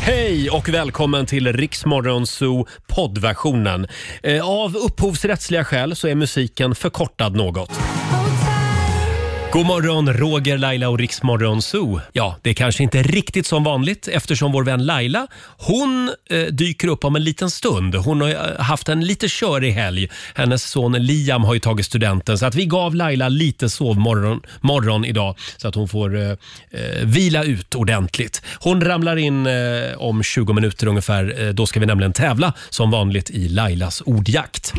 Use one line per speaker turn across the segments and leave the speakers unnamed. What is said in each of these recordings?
Hej och välkommen till Riksmorgon Zoo poddversionen. Eh, Av upphovsrättsliga skäl så är musiken förkortad något. God morgon, Roger, Laila och Riksmorgon Zoo. Ja, det är kanske inte riktigt som vanligt eftersom vår vän Laila, hon eh, dyker upp om en liten stund. Hon har ju, eh, haft en lite körig helg. Hennes son Liam har ju tagit studenten så att vi gav Laila lite sovmorgon morgon idag så att hon får eh, eh, vila ut ordentligt. Hon ramlar in eh, om 20 minuter ungefär. Eh, då ska vi nämligen tävla som vanligt i Lailas ordjakt.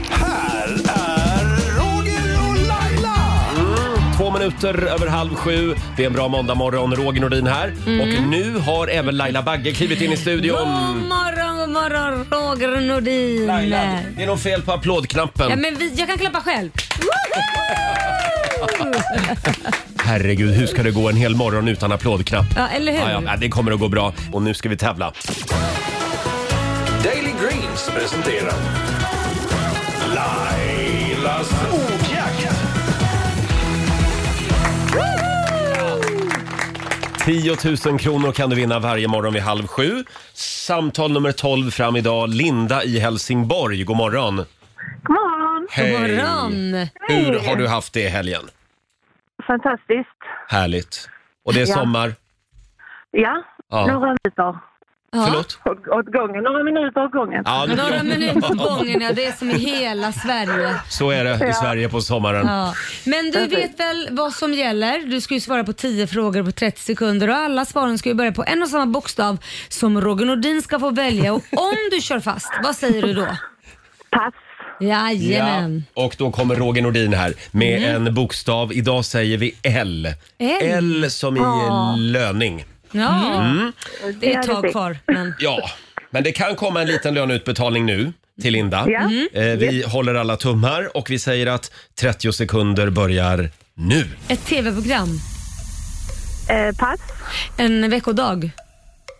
Två minuter över halv sju. Det är en bra måndagmorgon. Roger Nordin här.
Mm.
Och nu har även Laila Bagge klivit in i
God
studion.
morgon, god morgon Roger Nordin.
Mm. Laila, det är nog fel på applådknappen.
Ja, men vi, jag kan klappa själv.
Herregud, hur ska det gå en hel morgon utan applådknapp?
Ja, eller hur?
Ja, ja, ja, det kommer att gå bra. Och nu ska vi tävla.
Daily Greens presenterar Lailas ordjakt.
10 000 kronor kan du vinna varje morgon vid halv sju. Samtal nummer 12 fram idag. Linda i Helsingborg, god morgon.
God morgon!
Hej.
God morgon.
Hur har du haft det i helgen?
Fantastiskt.
Härligt. Och det är
Ja.
sommar.
Ja,
Ja.
några minuter
Ja.
Förlåt?
åt- åt gången. Några minuter åt gången.
Ja, nu-
Några minuter på gången, ja, det är som i hela Sverige.
Så är det i Sverige på sommaren.
Ja. Men du vet väl vad som gäller? Du ska ju svara på 10 frågor på 30 sekunder och alla svaren ska ju börja på en och samma bokstav som Roger Nordin ska få välja. Och om du kör fast, vad säger du då?
Pass.
Jajamän.
Ja, och då kommer Roger Nordin här med en bokstav. Idag säger vi L.
L.
L som i
Ja.
löning.
Ja,
Mm.
det är ett
det
tag
fick.
kvar. Men...
Ja, men det kan komma en liten löneutbetalning nu till Linda.
Ja. Mm.
Eh, vi håller alla tummar och vi säger att 30 sekunder börjar nu.
Ett tv-program,
Eh, pass.
en veckodag,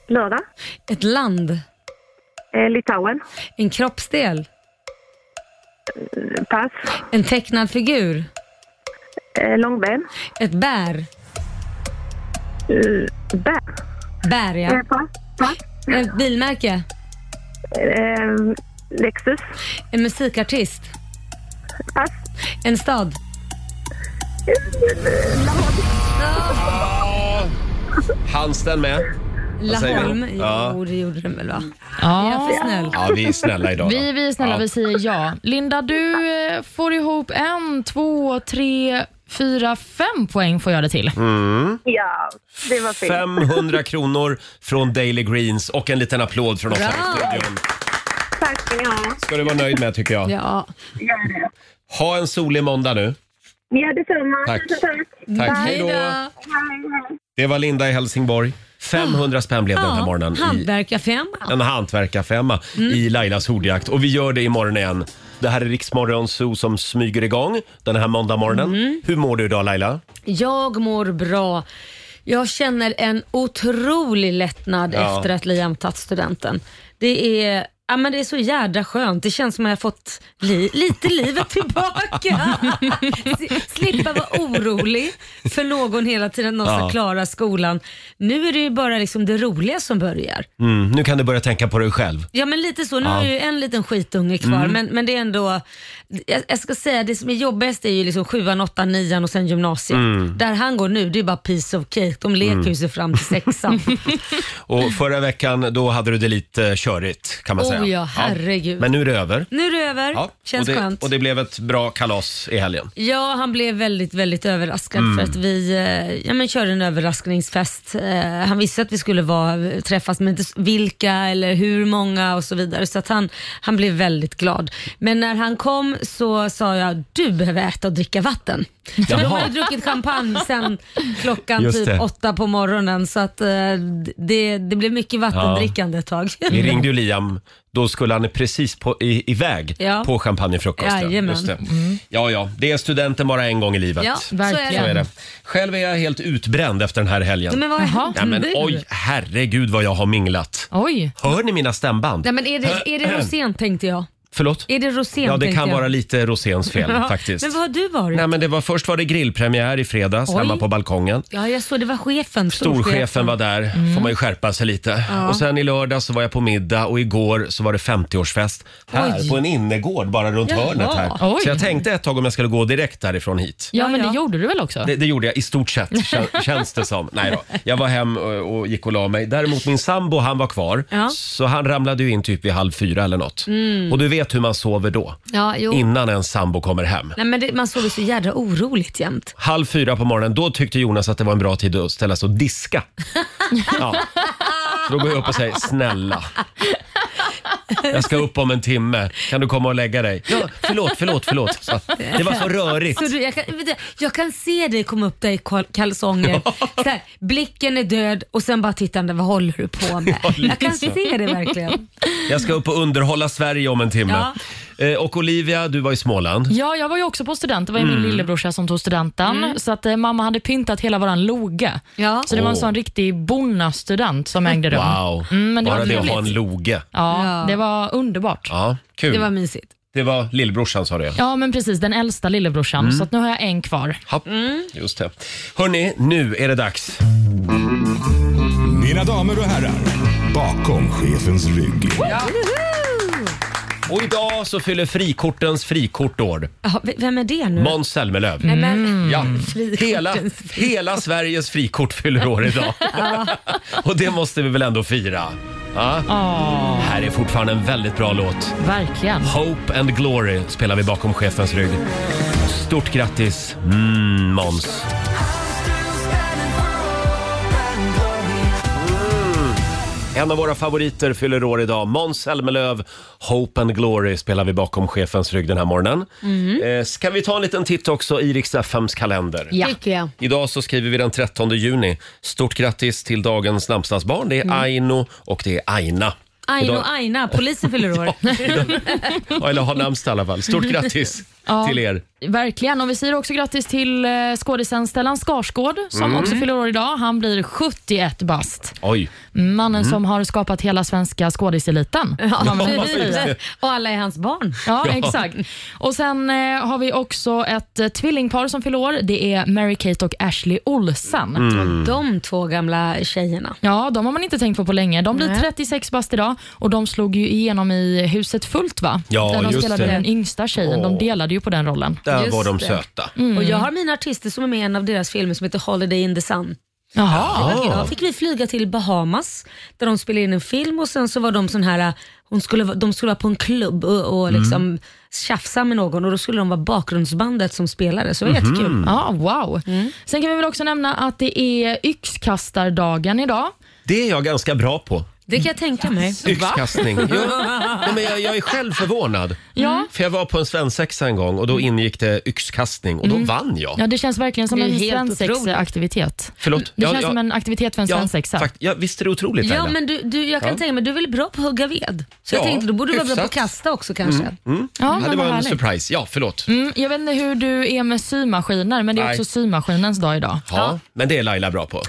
Lördag.
ett land,
Eh, Litauen.
en kroppsdel,
Pass.
en tecknad figur,
Eh, Långben.
ett bär.
Bär.
Bär
Eh,
ja.
pass. Pass.
Ett bilmärke,
Eh, Lexus.
en musikartist,
Pass.
en stad.
Hanns den med? Vad säger vi?
Laholm.
Ja.
Jo, det gjorde den väl va? Är jag
Ja,
för snäll?
Ja, vi är snälla idag.
vi, vi är snälla,
Ja.
vi säger ja. Linda, du eh, får ihop en, två, tre, fyra, fem poäng får jag det till.
Mm.
Ja, det var fint.
500 kronor från Daily Greens och en liten applåd från oss här i
Bra.
studion.
Tack ska ni ha.
ska du vara nöjd med tycker jag.
Ja.
Gör det.
Ha en solig måndag nu.
Ja, detsamma.
Tack.
Tack.
Tack.
Hej då.
Hej, hej.
Det var Linda i Helsingborg. 500 spänn blev det den här
Ja, Mm.
morgonen. I
Hantverkarfemma.
en hantverkarfemma i Lailas hordjakt. Och vi gör det imorgon igen. Det här är Riksmorgon Zoo som smyger igång den här måndagmorgonen.
Mm.
Hur mår du idag Laila?
Jag mår bra. Jag känner en otrolig lättnad
Ja.
efter att Liam tagit studenten. Det är, ja, men det är så jädra skönt. Det känns som att jag har fått li, lite livet tillbaka. S- Slippa vara orolig för någon hela tiden, någon
Ja.
ska klara skolan. Nu är det ju bara liksom det roliga som börjar.
Mm, nu kan du börja tänka på dig själv.
Ja men lite så. Nu
Ja. Mm.
har jag ju en liten skitunge kvar men, men det är ändå, jag, jag ska säga det som är jobbigast är ju liksom sjuan, åttan, nian och sen gymnasiet.
Mm.
Där han går nu, det är bara piece of cake. De leker ju sig fram till sexan.
Och förra veckan då hade du det lite körigt kan man
Oh
säga.
ja, herregud.
Men nu är det över.
nu är det över,
Ja,
känns
och det,
skönt.
Och det blev ett bra kalas i helgen.
Ja, han blev väldigt, väldigt överraskad
Mm.
för att vi eh, ja, men körde en överraskningsfest. Eh, han visste att vi skulle vara, träffas, men inte s- vilka eller hur många och så vidare. Så att han, han blev väldigt glad. Men när han kom så sa jag, du behöver äta och dricka vatten. För de
Jaha.
har ju druckit champagne sedan klockan
Just det.
typ åtta på morgonen. Så att eh, det, det blev mycket vattendrickande ett tag.
Vi ringde ju Liam, då skulle han precis på, i, iväg
Ja.
på champagnefrukosten.
Jajamän. Mm.
det. Ja, ja, det är studenten bara en gång i livet.
Ja, så är
Så är
det.
det. Själv är jag helt utbränd efter den här helgen.
Men vad har
Jaha.
hänt
Nej, men
nu?
oj, herregud vad jag har minglat.
Oj.
Hör ni mina stämband?
Nej, men är det, är det rosén tänkte jag?
Förlåt?
Är det rosén?
Äh, Ja, det
tänkte
kan
jag.
vara lite Roséns fel
Ja.
faktiskt.
Men vad har du varit?
Nej, men det var, först var det grillpremiär i fredags
Oj.
hemma på balkongen.
Ja, jag såg det var chefen.
Storchefen var där,
Mm.
får man ju skärpa sig lite. Och sen i lördag så var jag på middag och igår så var det 50-årsfest här
Oj.
på en innergård bara runt
Jaha.
hörnet här.
Oj.
Så jag tänkte ett tag om jag skulle gå direkt därifrån hit.
Ja,
Ja,
men
ja.
det gjorde du väl också?
Det, det gjorde jag i stort sett, kä- känns det som. Nej då. Jag var hem och, och gick och la mig. Däremot min sambo, han var kvar.
Ja.
Så han ramlade ju in typ vid halv fyra eller något. Och du vet hur man sover då,
Ja, jo.
innan en sambo kommer hem.
Nej, men det, man såg det så jädra oroligt jämt.
Halv fyra på morgonen, då tyckte Jonas att det var en bra tid att ställa sig och diska. Ja. Så då går jag upp och säger, snälla. Jag ska upp om en timme. Kan du komma och lägga dig? Ja, förlåt, förlåt, förlåt. Så, det var så rörigt.
Så du, jag, kan, vet du, jag kan se dig komma upp där i kal- kalsonger. Så här, blicken är död och sen bara tittande, vad håller du på med?
Ja,
jag kan
lite.
se det verkligen.
Jag ska upp och underhålla Sverige om en timme. Eh, Och Olivia, du var i Småland.
Ja, jag var ju också på student. Det var ju
Mm.
min lillebrorsa som tog studenten.
Mm.
Så att eh, mamma hade pyntat hela våran loge.
Ja.
Så det var en
Åh.
sån riktig bonnastudent som ägde rum.
Wow,
Mm, men det
bara
var
det att
trevligt.
ha en loge.
Ja,
Ja.
det var underbart. Ja.
Ja, kul.
Det var mysigt.
lillbrorsan sa det.
men precis. Den äldsta lillebrorsan.
Mm.
Så att nu har jag en kvar.
Ja,
Mm.
just det. Hörni, nu är det dags.
Mina damer och herrar, bakom chefens rygg.
Och idag så fyller frikortens frikort år.
Ja, v- vem är det nu?
Måns Zelmerlöw.
Nej, men,
Mm. Ja,
Frikortens
hela,
Mm. frikort.
hela Sveriges frikort fyller år idag. Och det måste vi väl ändå fira? Ja. Här är fortfarande en väldigt bra låt.
Verkligen.
Hope and Glory spelar vi bakom chefens rygg. Stort grattis, mm, Måns. En av våra favoriter fyller år idag. Måns Zelmerlöw, Hope and Glory spelar vi bakom chefens rygg den här morgonen. Eh, ska vi ta en liten titt också i riks FMs kalender?
Ja.
tycker jag.
Idag så skriver vi den 13 juni. Stort grattis till dagens namnsdagsbarn. Det är
Mm.
Aino och det är Aina.
Aino
Idag-
Aina, polisen fyller år.
Ja, Eller har namnsdag i alla fall. Stort grattis
Ja.
till er.
Verkligen. Och vi säger också grattis till eh, skådisen Stellan Skarsgård som
Mm.
också fyller år idag. Han blir 71 bast.
Oj.
Mannen
Mm.
som har skapat hela svenska skådiseliten.
Ja,
kan man väl
precis.
säga.
och alla är hans barn.
Ja, exakt. Och Sen eh, har vi också ett eh, tvillingpar som fyller år. Det är Mary-Kate och Ashley Olsen.
Mm.
De två gamla tjejerna.
Ja, de har man inte tänkt på på länge. De blir
Nej.
36 bast idag och de slog ju igenom i Huset fullt va?
Ja,
Där de
just
spelade
det.
den yngsta tjejen.
Åh.
De delade ju på den rollen.
Där
Just
var de
det.
söta.
Mm.
Och jag har mina artister som är med i en av deras filmer som heter Holiday in the Sun.
Jaha.
Ah.
Ja, fick vi flyga till Bahamas där de spelade in en film och sen så var de sån här, hon skulle, vara- de skulle vara på en klubb och,
Mm.
och liksom tjafsa med någon och då skulle de vara bakgrundsbandet som spelade så det
Mhm.
var jättekul.
Ja, wow. Sen kan vi väl också nämna att det är yxkastardagen idag.
Det är jag ganska bra på.
Det kan jag tänka mig.
Yxkastning. Jo, nej, men jag, jag är själv förvånad.
Ja.
För jag var på en svensexa en gång och då ingick det yxkastning och då vann jag.
Mm. ja, det känns verkligen som
Det är
en
helt otroligt.
svensexaktivitet.
Förlåt?
Det
Ja,
känns
ja,
som en aktivitet för en svensexa.
ja, fakt- ja, Visst är det otroligt
Ja
Laila?
men du, du, jag kan tänka mig, du är väl bra på att hugga ved? Så jag
Ja,
tänkte då borde du vara bra på att
hyfsat. Mm.
kasta också kanske.
Ja, men
ja, det
vad
var en
härligt.
surprise. Ja, förlåt.
Mm, jag vet inte hur du är med symaskiner, men det är
Nej.
också symaskinens dag idag.
Ja, men det är Laila bra på.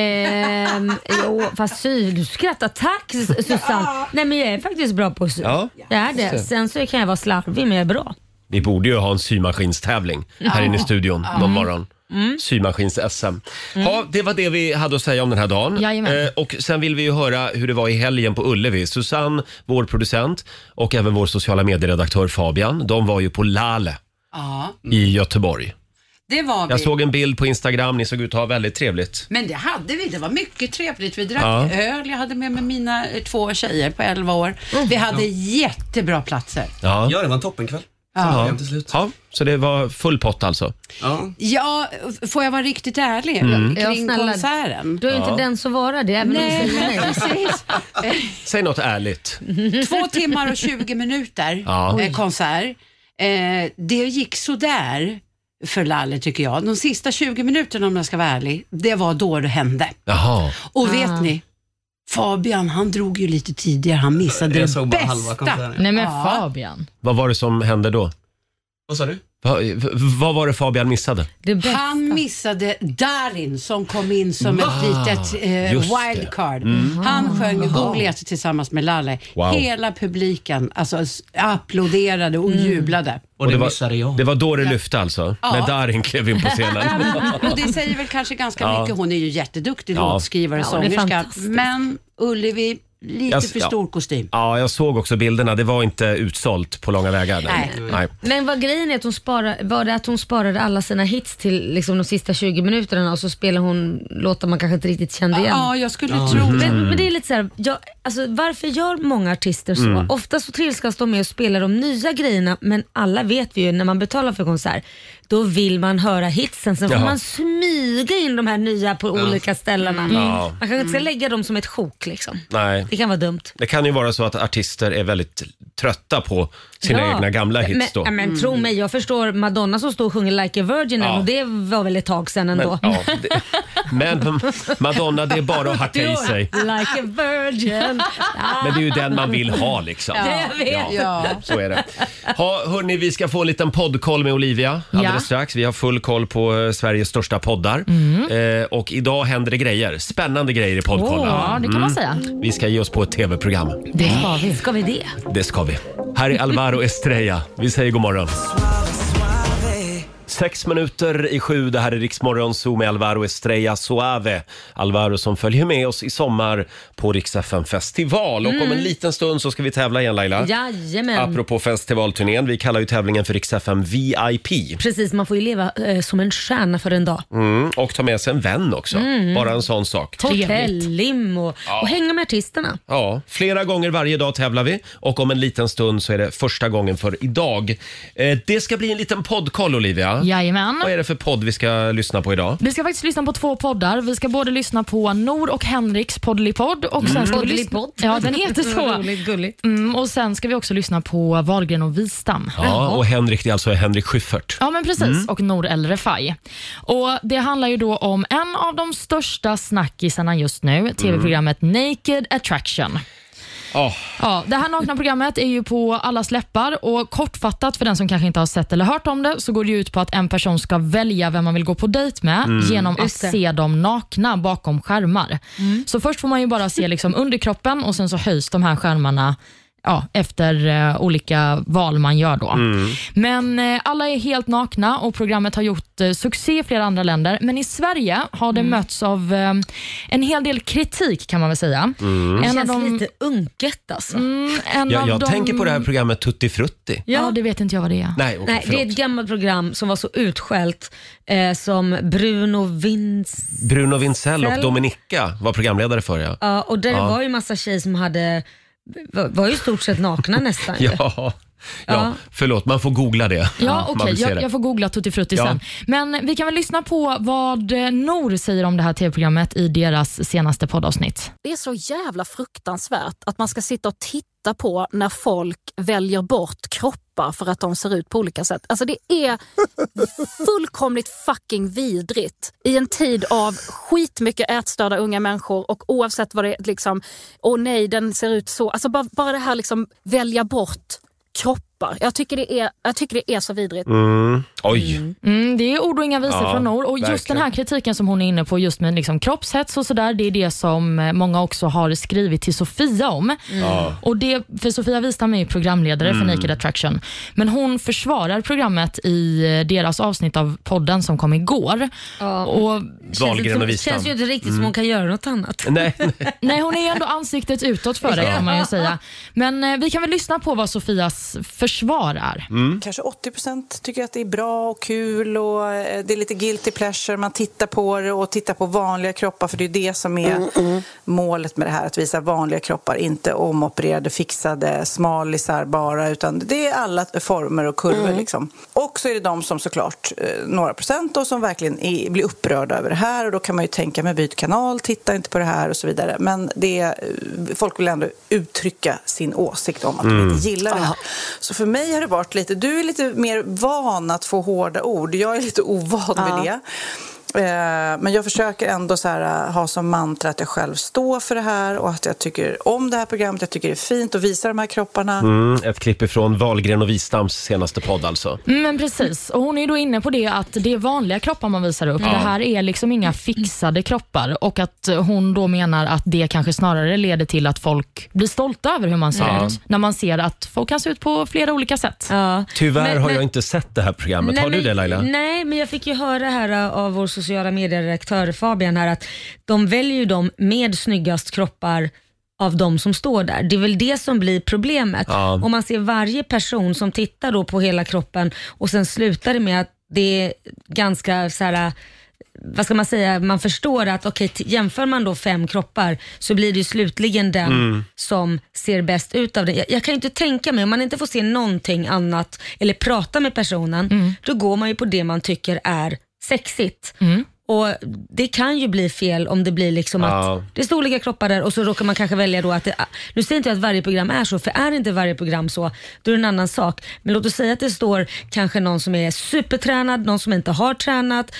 Ehm, jo, fast sy, du skrattar. Tack Susanne. Nej men jag är faktiskt bra på att sy.
Ja.
Jag är det. Sen så kan jag vara slarvig men jag är bra.
Vi borde ju ha en symaskinstävling här inne i studion någon morgon. Symaskins-SM. Ja, det var det vi hade att säga om den här dagen. Eh,
Jajamän.
och sen vill vi ju höra hur det var i helgen på Ullevi. Susanne, vår producent och även vår sociala medieredaktör Fabian, de var ju på Lale
Ja,
i Göteborg.
det var vi.
Jag såg en bild på Instagram, ni såg ut att ha väldigt trevligt.
Men det hade vi. Det var mycket trevligt. Vi drack
Ja.
öl. Jag hade med mig mina eh, två tjejer på 11 år.
Oh,
Vi hade jättebra platser.
Ja.
Ja, det var en toppenkväll.
Ja.
Till slut.
ja, så det var full pott alltså.
Ja.
Ja, får jag vara riktigt ärlig
Mm.
Ja,
kring
snälla.
konserten?
Du är ju inte den som varar det även om du
Nej,
säger nej.
precis.
Säg något ärligt.
Två timmar och 20 minuter
Ja.
eh, konsert. Eh, det gick sådär för Lalle tycker jag. De sista 20 minuterna om jag ska vara ärlig, det var då det hände.
Jaha.
Och
Ah.
vet ni, Fabian han drog ju lite tidigare, han missade
Jag
det
såg bara halva
bästa.
konserten.
Nej men
Ja.
Fabian.
Vad var det som hände då?
Vad sa du?
Va- v- Vad var det Fabian missade?
Det bästa.
Han missade Darin som kom in som ett litet eh,
Ah. just det. Mm.
wildcard. Han sjöng ju
Ah.
Goliat tillsammans med Lalle.
Wow.
Hela publiken alltså, s- applåderade och
Mm.
jublade.
Och det, missade jag.
det var då det lyfte alltså? När Darin klev in på scenen?
Och det säger väl kanske ganska mycket. Hon är ju jätteduktig
Ja.
låtskrivare och
Ja, det är
sångerska.
fantastiskt.
Men Ullevi, lite
Jag s-
för
ja.
stor kostym.
Ja, jag såg också bilderna. Det var inte utsålt på långa vägar. Nej. Nej.
Men vad grejen är att hon sparade, var det att hon sparade alla sina hits till liksom de sista 20 minuterna och så spelar hon låtar man kanske inte riktigt kände igen?
Ja, jag skulle tro
Mm.
det.
Men, men det är lite så här, jag, alltså, varför gör många artister så?
Mm.
Ofta så trilskas de med och spelar de nya grejerna men alla vet vi ju när man betalar för konsert, då vill man höra hitsen. Sen får
Jaha.
man smyga in de här nya på olika ställena.
Mm. Ja.
Man kanske inte ska lägga dem som ett sjok liksom.
Nej.
Det kan vara dumt.
Det kan ju vara så att artister är väldigt trötta på sina
Ja.
egna gamla hits då.
Men, ja, men tro
Mm.
mig, jag förstår Madonna som står och sjunger Like a Virgin
Ja.
och det var väl ett tag sedan ändå.
Men, ja, det, men Madonna, det är bara att hacka i sig.
Like a virgin. Ja,
Men det är ju den man vill ha liksom.
det jag vet.
Ja.
Så är det. Ha, hörni, vi ska få en liten poddkoll med Olivia alldeles
Ja.
strax. Vi har full koll på eh, Sveriges största poddar. Eh, och idag händer det grejer. Spännande grejer i
Mm. Åh,
poddkollen. Mm.
ja, det kan man säga.
Vi ska ge oss på ett tv-program.
Det ska vi. Ska vi det?
Det ska vi. Här är Alvaro Estrella. Vi säger god morgon. Sex minuter i sju, det här är Riksmorgon Zoo med Alvaro Estrella Suave. Alvaro som följer med oss i sommar på Rix FM festival. Och om
Mm.
en liten stund så ska vi tävla igen Laila.
Jajamän.
Apropå festivalturnén, vi kallar ju tävlingen för Rix FM VIP.
Precis, man får ju leva eh, som en stjärna för en dag.
Mm, och ta med sig en vän också,
Mm.
bara en sån sak.
Hotell, lim och, och hänga med artisterna.
Ja, flera gånger varje dag tävlar vi och om en liten stund så är det första gången för idag. Eh, det ska bli en liten poddkoll Olivia.
Jajamän.
Vad är det för podd vi ska lyssna på idag?
Vi ska faktiskt lyssna på två poddar. Vi ska både lyssna på Nor och Henriks poddelipodd. Och sen ska vi lyssna-
Poddelipodd.
Ja, den heter så.
Roligt, gulligt.
Mm, och sen ska vi också lyssna på Wahlgren och Wistam.
Ja, och Henrik det är alltså Henrik Schyffert.
Ja, men precis. Och Nour El Refai. Och Det handlar ju då om en av de största snackisarna just nu, tv-programmet Naked Attraction.
Ja,
Ja, det här nakna programmet är ju på allas läppar och kortfattat för den som kanske inte har sett eller hört om det så går det ju ut på att en person ska välja vem man vill gå på dejt med genom att
Just det. Mm.
se dem nakna bakom skärmar. Så först får man ju bara se liksom underkroppen och sen så höjs de här skärmarna Ja, efter eh, olika val man gör då. Men eh, alla är helt nakna och programmet har gjort eh, succé i flera andra länder. Men i Sverige har
Mm.
det mötts av eh, en hel del kritik kan man väl säga.
Det
En
känns lite unket alltså.
Mm, en
jag,
av
jag
de...
tänker på det här programmet Tutti Frutti.
Ja. det vet inte jag vad det är.
Nej, okej,
Nej, det är ett
förlåt.
gammalt program som var så utskällt eh, som Bruno Vins
Bruno Vincell och
Sell.
Dominika var programledare för ja.
Ja, och där var ju massa tjejer som hade var, var ju i stort sett nakna nästan. ju.
Ja, ja, förlåt. Man får googla det.
Ja, okej.
Man vill se
Jag,
det.
jag får googla Tutti Frutti
Ja.
sen. Men vi kan väl lyssna på vad eh, Nor säger om det här tv-programmet i deras senaste poddavsnitt.
Det är så jävla fruktansvärt att man ska sitta och titta på när folk väljer bort kroppar för att de ser ut på olika sätt. Alltså det är fullkomligt fucking vidrigt i en tid av skitmycket ätstörda unga människor och oavsett vad det är liksom, åh nej den ser ut så. Alltså bara, bara det här liksom välja bort kroppar. Jag tycker det är, jag tycker det är så vidrigt.
Mm. Oj.
Mm, det är ord och inga visor
Ja,
från Nor. Och just
verkligen.
den här kritiken som hon är inne på just med liksom kroppshets och sådär, det är det som eh, många också har skrivit till Sofia om.
Mm.
Och det, för Sofia Wistam är ju programledare för Naked Attraction, men hon försvarar programmet i eh, deras avsnitt av podden som kom igår. Och
Känns
Wahlgren
inte-
och Wistam. Mm.
Känns ju inte riktigt som hon kan göra något annat.
Nej,
Nej, hon är ju ändå ansiktet utåt för det kan man ju säga. Men eh, vi kan väl lyssna på vad Sofias försvar är.
Mm.
Kanske 80 tycker att det är bra och kul och eh, det är lite guilty pleasure. Man tittar på det och tittar på vanliga kroppar för det är det som är målet med det här. Att visa vanliga kroppar, inte omopererade, fixade smallisar bara utan det är alla former och kurvor. Liksom. Och så är det de som såklart, eh, några procent, då, som verkligen är, blir upprörda över det här och då kan man ju tänka men byt kanal, titta inte på det här och så vidare. Men det, eh, folk vill ändå uttrycka sin åsikt om att de
Mm.
inte gillar det här. Så för mig har det varit lite, du är lite mer van att få hårda ord, jag är lite ovan vid det. Eh, Men jag försöker ändå så här, eh, ha som mantra att jag själv står för det här och att jag tycker om det här programmet. Jag tycker det är fint att visa de här kropparna.
Mm, ett klipp ifrån Valgren och Wistams senaste podd alltså.
Mm, Men precis, och hon är ju då inne på det att det är vanliga kroppar man visar upp. Det här är liksom inga fixade kroppar och att eh, hon då menar att det kanske snarare leder till att folk blir stolta över hur man ser
Ja.
ut. När man ser att folk kan se ut på flera olika sätt.
Ja.
Tyvärr
Men-
har
men-
jag inte sett det här programmet. har du
men, Mm.
det Laila?
Nej, men jag fick ju höra här ä, av vår sociala medieredaktör Fabian här att de väljer ju de med snyggast kroppar av de som står där. Det är väl det som blir problemet.
Ja.
Om man ser varje person som tittar då på hela kroppen och sen slutar det med att det är ganska så här äh, ä, vad ska man säga, man förstår att okej, t- jämför man då fem kroppar så blir det ju slutligen den som ser bäst ut av det. Jag, jag kan ju inte tänka mig, om man inte får se någonting annat eller prata med personen, då går man ju på det man tycker är sexigt. Och Det kan ju bli fel om det blir liksom
Ja.
att det står olika kroppar där och så råkar man kanske välja då att det, nu säger inte jag att varje program är så, för är inte varje program så, då är det en annan sak. Men låt oss säga att det står kanske någon som är supertränad, någon som inte har tränat.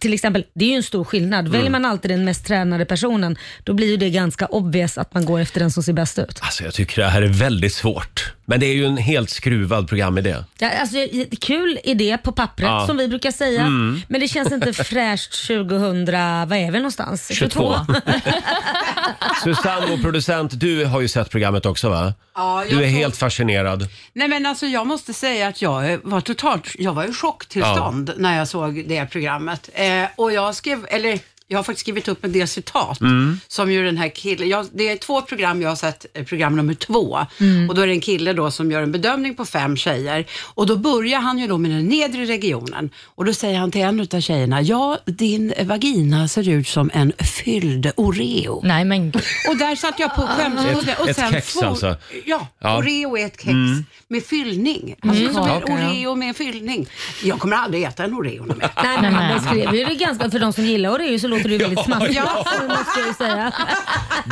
Till exempel, det är ju en stor skillnad. Väljer man alltid den mest tränade personen, då blir ju det ganska obvious att man går efter den som ser bäst ut.
Alltså jag tycker det här är väldigt svårt. Men det är ju en helt skruvad programidé.
Ja, alltså, kul idé på pappret
Ja.
som vi brukar säga, men det känns inte fräscht 2000, vad är vi någonstans?
22. Susanne, vår producent, du har ju sett programmet också va?
Ja, jag
Du är
såg-
helt fascinerad.
Nej men alltså jag måste säga att jag eh, var totalt, jag var i chocktillstånd när jag såg det programmet. Eh, och jag skrev, eller jag har faktiskt skrivit upp en del citat som ju den här killen, jag, det är två program jag har sett, eh, program nummer två. Och då är det en kille då som gör en bedömning på fem tjejer. Och då börjar han ju då med den nedre regionen. Och då säger han till en av tjejerna, ja din vagina ser ut som en fylld Oreo.
Nej men gud.
Och där satt jag på skämskudden. och
ett
sen
kex
for-
alltså.
Ja,
Ja. Mm.
Oreo är ett kex med fyllning. Alltså som en Oreo med fyllning. Jag kommer aldrig äta en Oreo mer.
Nej, men han beskrev ju det ganska, för de som gillar Oreo så låter det ju väldigt smaskigt.
ja.
det måste jag ju säga.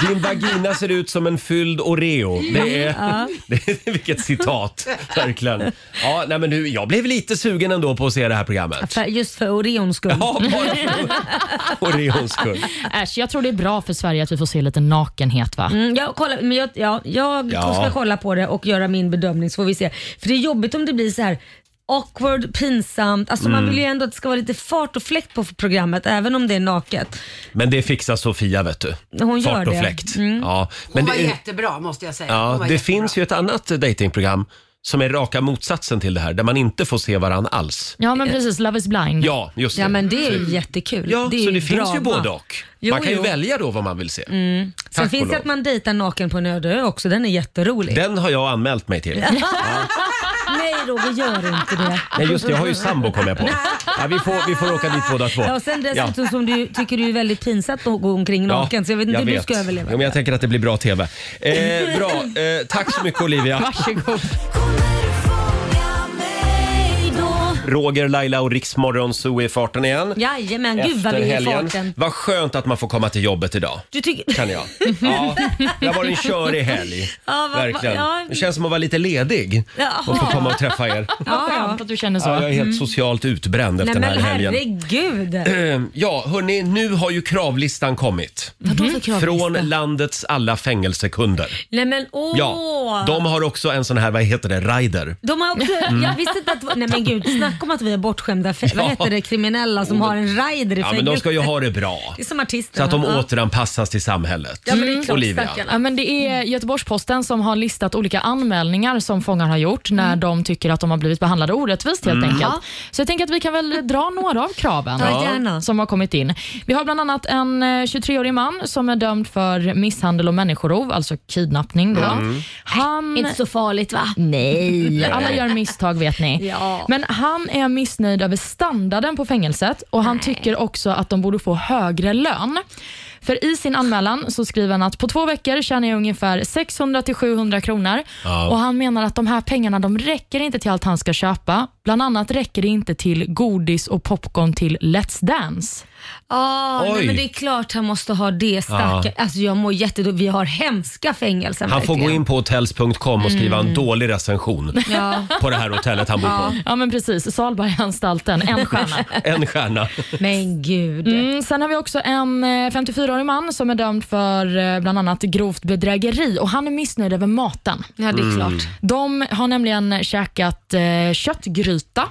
Din vagina ser ut som en fylld Oreo.
Mm.
Det är, det är, vilket citat, verkligen. Ja, nej, men nu, jag blev lite sugen ändå på att se det här programmet.
För, just för Oreons skull.
Ja, bara för Oreons skull.
Äsch, jag tror det är bra för Sverige att vi får se lite nakenhet va?
Mm, jag kollar, men jag, ja, jag
Ja.
ska kolla på det och göra min bedömning så får vi se. För det är jobbigt om det blir så här awkward, pinsamt. Alltså Man
Mm.
vill ju ändå att det ska vara lite fart och fläkt på programmet även om det är naket.
Men det fixar Sofia, vet du.
Hon gör
Fart och
det.
fläkt.
Mm.
Ja,
Hon
men
var
det,
jättebra måste jag säga. Hon
ja,
var
det
jättebra.
finns ju ett annat datingprogram som är raka motsatsen till det här, där man inte får se varann alls.
Ja men precis, Love is blind.
Ja, just det.
Ja men det är ju jättekul.
Ja,
det är
så det finns
drama.
ju både och.
Jo,
man kan ju
jo. Mm.
välja då vad man vill se.
Sen
Tack och
finns det
lov.
att man dejtar naken på en öde ö också. Den är jätterolig.
Den har jag anmält mig till.
Nej Roger, gör inte det.
Nej just det, jag har ju sambo kom jag på. Ja, vi, får, vi får åka dit båda två.
Ja, och sen dessutom som du tycker det är väldigt pinsamt att gå omkring
Ja,
naken så jag vet inte hur du
vet.
ska överleva.
Jo, men jag tänker att det blir bra TV. Eh, bra, eh, tack så mycket Olivia.
Varsågod.
Roger, Laila och Riksmorgon Zoo är i farten igen.
Jajamän, gud vad vi är i farten.
Vad skönt att man får komma till jobbet idag.
Du tycker...
Kan jag. Ja, det har varit en körig helg.
Ja, vad-
Verkligen.
vad- ja.
Det känns som att vara lite ledig och få
Jaha.
komma och träffa er.
Vad skönt att du känner så.
Ja, jag är helt socialt utbränd
Mm. Nej
efter
men
den här helgen.
herregud.
Eh, Ja, hörni, nu har ju kravlistan kommit.
Vadå för
Från
kravlista?
landets alla fängelsekunder.
Nej men åh.
Ja, de har också en sån här, vad heter det, rider.
De har också, Jag visste inte att... Nej men gud, snacka om att vi är bortskämda, fe-
Ja. Oh.
vad heter det, kriminella som har en rider i
Ja, men de
fängelset.
ska ju ha det bra.
Det är som artister.
Så att de
va? Ja.
återanpassas till samhället.
Ja, men det är klart,
Olivia.
stackarna.
Ja, men det
Mm.
är Göteborgs-Posten som har listat olika anmälningar som fångar har gjort när
Mm.
de tycker att de har blivit behandlade orättvist helt enkelt. Så jag tänker att vi kan väl dra några av kraven.
Mm. Ja, gärna.
som har kommit in. Vi har bland annat en eh, 23-årig man som är dömd för misshandel och människorov, alltså kidnappning. Då.
Mm.
Han...
Inte så farligt va?
Nej, alla gör misstag vet ni.
Ja.
Men han är missnöjd över standarden på fängelset och han tycker också att de borde få högre lön. För i sin anmälan så skriver han att på två veckor tjänar jag ungefär 600-700 kronor
Ja.
och han menar att de här pengarna de räcker inte till allt han ska köpa Bland annat räcker det inte till godis och popcorn till Let's Dance.
Ah,
Oj.
nej, men det är klart han måste ha det starka. Alltså jag mår jättedåligt. Vi har hemska fängelsen
Han får gå
verkligen.
in på hotels.com och skriva en dålig recension
Ja.
på det här hotellet han bor på.
Ja, men precis. Salberganstalten, en stjärna.
En stjärna.
Men gud.
Mm, sen har vi också en eh, 54-årig man som är dömd för eh, bland annat grovt bedrägeri och han är missnöjd över maten.
Ja,
Mm.
det är klart.
De har nämligen käkat eh, köttgryta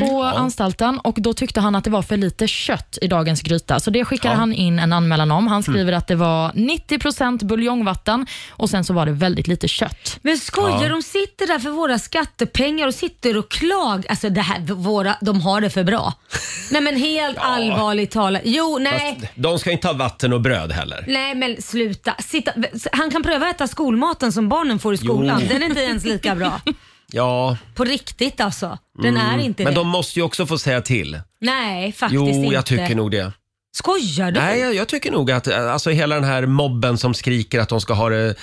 på anstalten och då tyckte han att det var för lite kött i dagens gryta. Så det skickade han in en anmälan om. Han skriver att det var 90% buljongvatten och sen så var det väldigt lite kött.
Men skojar de sitter där för våra skattepengar och sitter och klagar. Alltså det här, våra, de har det för bra. nej men helt allvarligt talat. Jo, nej.
Fast de ska inte ha vatten och bröd heller.
Nej men sluta. Sitta. Han kan pröva att äta skolmaten som barnen får i skolan.
Jo.
Den är inte ens lika bra.
Ja,
På riktigt alltså. Den är inte
Mm. men
det.
de måste ju också få säga till.
Nej faktiskt
Jo,
inte.
jag tycker nog det.
Skojar du?
Nej, jag, jag tycker nog att eh, alltså, hela den här mobben som skriker att de ska ha det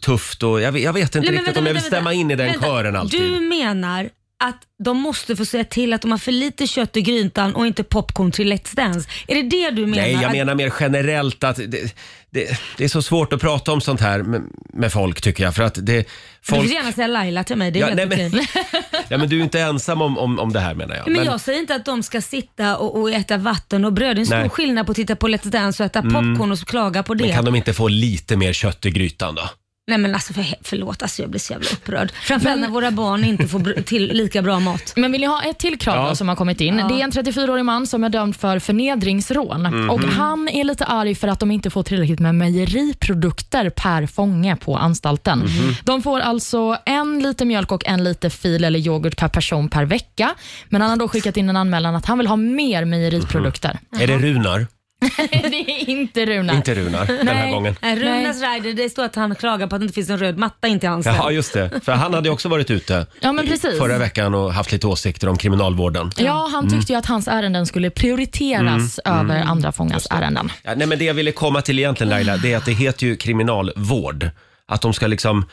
tufft och jag, vet- jag vet inte
Nej, men
riktigt om jag vill stämma in i den
Vänta,
kören alltid.
Du menar att de måste få säga till att de har för lite kött i grytan och inte popcorn till Let's Dance. Är det det du menar?
Nej, jag
Att-
menar mer generellt att det, det, det är så svårt att prata om sånt här med, med folk tycker jag. För att det,
Du
folk,
får gärna säga Laila till mig, det är
Ja,
helt
nej, men-
okej. Nej,
ja, men du är inte ensam om, om, om det här menar jag.
men jag säger inte att de ska sitta och, och äta vatten och bröd. Det är en stor
Nej. Mm.
skillnad på att titta på Let's Dance och äta popcorn och så klaga på det.
men kan de inte få lite mer kött i grytan då?
Nej men alltså för, förlåt, alltså jag blir så jävla upprörd. Framförallt när våra barn inte får br- till lika bra mat.
Men vill ni ha ett till krav
Ja.
då som har kommit in? Det är en 34-årig man som är dömd för förnedringsrån
Mhm.
och han är lite arg för att de inte får tillräckligt med mejeriprodukter per fånge på anstalten.
Mhm.
De får alltså en liter mjölk och en liter fil eller yoghurt per person per vecka. Men han har då skickat in en anmälan att han vill ha mer mejeriprodukter.
Är det Runar?
det är inte Runar.
Mhm. Inte Runar den här
Nej.
gången.
Nej, Eh, Runas rider, det står att han klagar på att det inte finns en röd matta in till hans hem.
Ja, just det. För han hade ju också varit ute
Ja, men precis.
förra veckan och haft lite åsikter om kriminalvården.
Ja, han
Mm.
tyckte ju att hans ärenden skulle prioriteras över andra fångars ärenden.
Ja, nej, men det jag ville komma till egentligen Laila, det är att det heter ju kriminalvård. Att de ska liksom,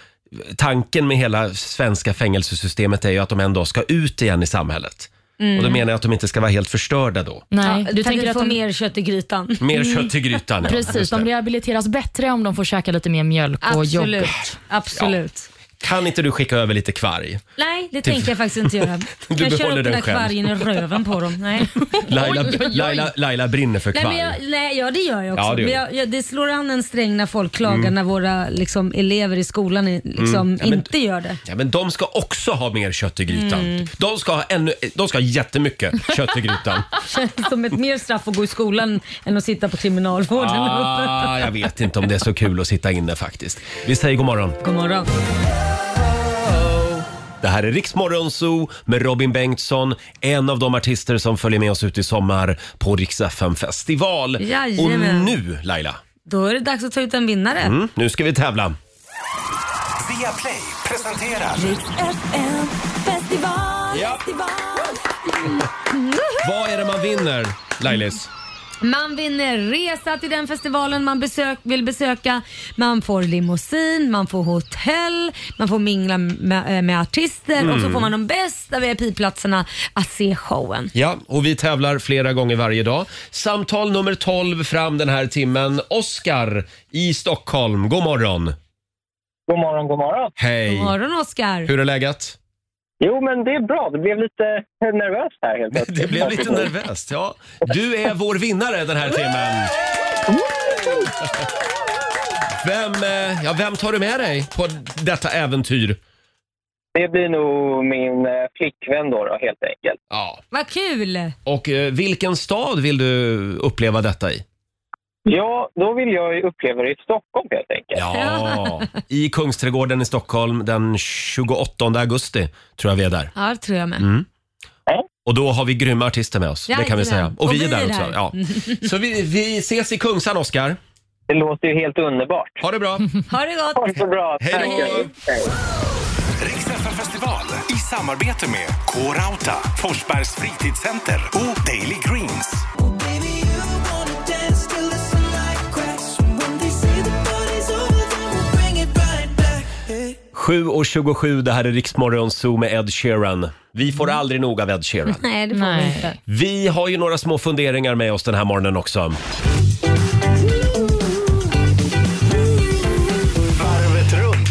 tanken med hela svenska fängelsesystemet är ju att de en dag ska ut igen i samhället. Och då menar jag att de inte ska vara helt förstörda då.
Mm. Nej,
Ja,
du
för att
tänker
vi
att
får
de
mer kött i grytan.
Mer kött i grytan. ja.
Precis,
Just
de
det.
rehabiliteras bättre om de får käka lite mer mjölk och
Absolut.
yoghurt.
Absolut.
Kan inte du skicka över lite kvarg?
Nej, det tänker jag faktiskt inte göra. jag kör
behåller
upp den
den
här
själv.
kvargen i röven på dem. Nej.
Laila, Laila, Laila brinner för
Nej, men
kvarg.
jag, nej, ja det gör jag också.
Ja, det
det,
gör Mm.
men jag, jag, det slår an en sträng när folk klagar när våra liksom, elever i skolan i- liksom,
men-
inte gör det.
Ja, men de ska också ha mer kött i grytan.
Mm.
De, ska ha ännu, de ska ha jättemycket kött i grytan.
Som ett mer straff att gå i skolan än att sitta på kriminalvården.
ah, jag vet inte om det är så kul att sitta inne faktiskt. Vi säger god morgon.
God morgon.
Det här är Riksmorgon Zoo med Robin Bengtsson, en av de artister som följer med oss ut i sommar på Rix FM festival. Och
Jajamän.
nu Laila,
Då är det dags att ta ut en vinnare.
mm, nu ska vi tävla.
Via Play presenterar
Vad är det man vinner Lailis?
Man vinner resa till den festivalen man besök, vill besöka. Man får limousin, man får hotell, man får mingla med, eh, med artister och
Mm.
så får man de bästa VIP-platserna att se showen.
Ja, och vi tävlar flera gånger varje dag. Samtal nummer 12 fram den här timmen. Oskar i Stockholm, god morgon.
God morgon, god morgon.
Hej.
God morgon Oscar.
Hur är läget?
Jo, men det är bra. Det blev lite nervöst här helt plötsligt.
Det blev lite nervöst. Ja. Du är vår vinnare den här timmen. Vem, eh, ja, vem tar du med dig på detta äventyr?
Det blir nog min eh, flickvän då, då helt enkelt.
Ja.
Vad kul!
Och eh, vilken stad vill du uppleva detta i?
Ja, då vill jag ju uppleva det i Stockholm helt enkelt.
Ja, i Kungsträdgården i Stockholm den 28 augusti tror jag vi är där.
Ja, det tror jag med.
Mm. Och då har vi grymma artister med oss, det kan vi säga.
Jajamän.
Och vi är där också. Ja. Så vi, vi ses i Kungsan, Oskar.
Det låter ju helt underbart.
Ha det bra.
Ha det
Ha
gott!
det så bra.
Hej då.
Hej.
Rix FM festival i samarbete med K-Rauta, Forsbergs fritidscenter och Daily Greens.
7.27, det här är Riksmorgon Zoo med Ed Sheeran. Vi får aldrig nog av Ed Sheeran.
Nej, det får vi inte.
Vi har ju några små funderingar med oss den här morgonen också.
Varvet runt.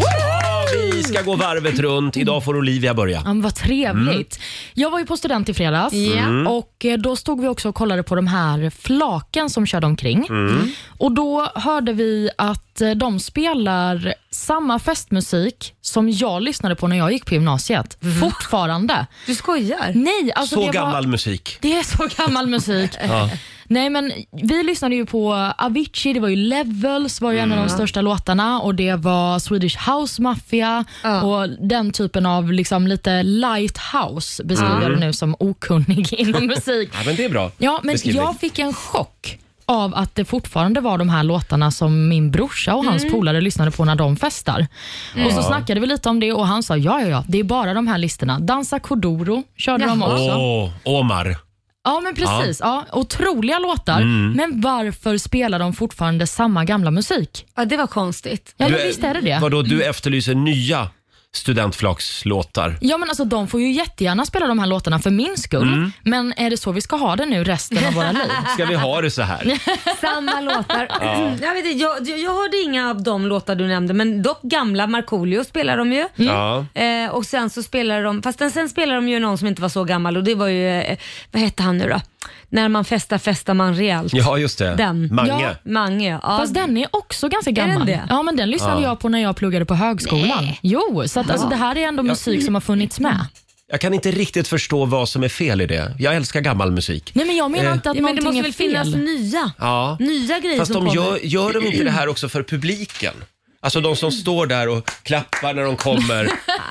Vi ska gå varvet runt. Idag får Olivia börja.
Ja, men vad trevligt. Jag var ju på student i fredags
Mm.
och eh, då stod vi också och kollade på de här flaken som körde omkring.
Mm.
Och Då hörde vi att eh, de spelar samma festmusik som jag lyssnade på när jag gick på gymnasiet.
Mm.
Fortfarande.
Du skojar?
Nej, alltså
Så
det
gammal
var...
musik.
Det är så gammal musik.
Ja.
Nej, men vi lyssnade ju på Avicii, det var ju Levels var ju en av de
Mm.
största låtarna och det var Swedish House Mafia och den typen av liksom lite light house beskriver jag
Mm.
det nu som okunnig inom musik.
Ja, men det är bra
Ja, men
beskrivning.
jag fick en chock av att det fortfarande var de här låtarna som min brorsa och hans
Mm.
polare lyssnade på när de festar.
Mm.
Och så
Ja.
snackade vi lite om det och han sa ja, ja, ja, det är bara de här listorna. Dansa Kodoro körde de
Åh,
också.
Omar.
Ja, men precis. Ja. otroliga låtar,
Mm.
men varför spelar de fortfarande samma gamla musik?
Ja, det var konstigt.
Ja, men visst är det det.
Vadå, du efterlyser nya studentflakslåtar?
Ja, men alltså, de får ju jättegärna spela de här låtarna för min skull,
Mm.
men är det så vi ska ha det nu resten av våra liv?
Ska vi ha det så här?
Samma låtar.
Ja.
Jag, vet inte, jag, jag hörde inga av de låtar du nämnde, men dock gamla Markoolio spelar de ju.
Ja.
Eh, och sen så spelar de, fast den, sen spelar de ju någon som inte var så gammal och det var ju, eh, vad hette han nu då? När man festar festar man rejält.
Ja, just det.
Den.
Mange. Ja.
Mange, ja.
Fast den är också ganska
den
gammal.
det?
Ja, men den lyssnade
Ja.
jag på när jag pluggade på högskolan. Jo, så att, alltså,
Ja.
det här är ändå
Ja.
musik som har funnits med.
Jag kan inte riktigt förstå vad som är fel i det. Jag älskar gammal musik.
Nej, men jag menar
Eh.
inte att
Ja, men det
någonting
måste
är
väl
fel.
finnas nya,
Ja.
nya grejer
Fast
som
de
kommer.
gör, gör de inte det här också för publiken? Alltså de som står där och klappar när de kommer.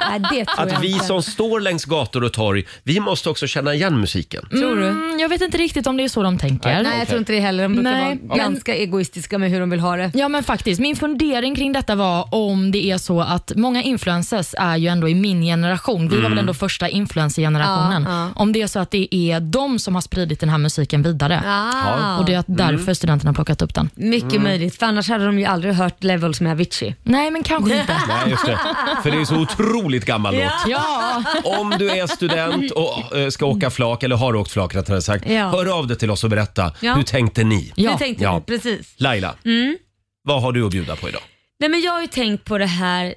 Nej, det tror jag
Att vi
inte.
som står längs gator och torg, vi måste också känna igen musiken.
Tror du?
Mm, jag vet inte riktigt om det är så de tänker.
Nej, jag tror inte det heller. De brukar
Nej,
vara
men-
ganska egoistiska med hur de vill ha det.
Ja men faktiskt, min fundering kring detta var om det är så att många influencers är ju ändå i min generation, vi var väl ändå första influencergenerationen.
Mm. Ja,
Om det är så att det är de som har spridit den här musiken vidare
Ah. Mm.
och det är att därför studenterna har plockat upp den.
Mycket
Mm.
möjligt, för annars hade de ju aldrig hört Levels med Avicii.
Nej men kanske inte.
Nej, just det. För det är så otroligt gammal låt.
ja.
Om du är student och eh, ska åka flak, eller har åkt flak rättare sagt,
Ja.
hör av dig till oss och berätta.
Ja.
Hur tänkte ni?
Ja.
Det tänkte
Ja.
vi, precis.
Laila,
Mm.
vad har du att bjuda på idag?
Nej, men jag har ju tänkt på det här, eh,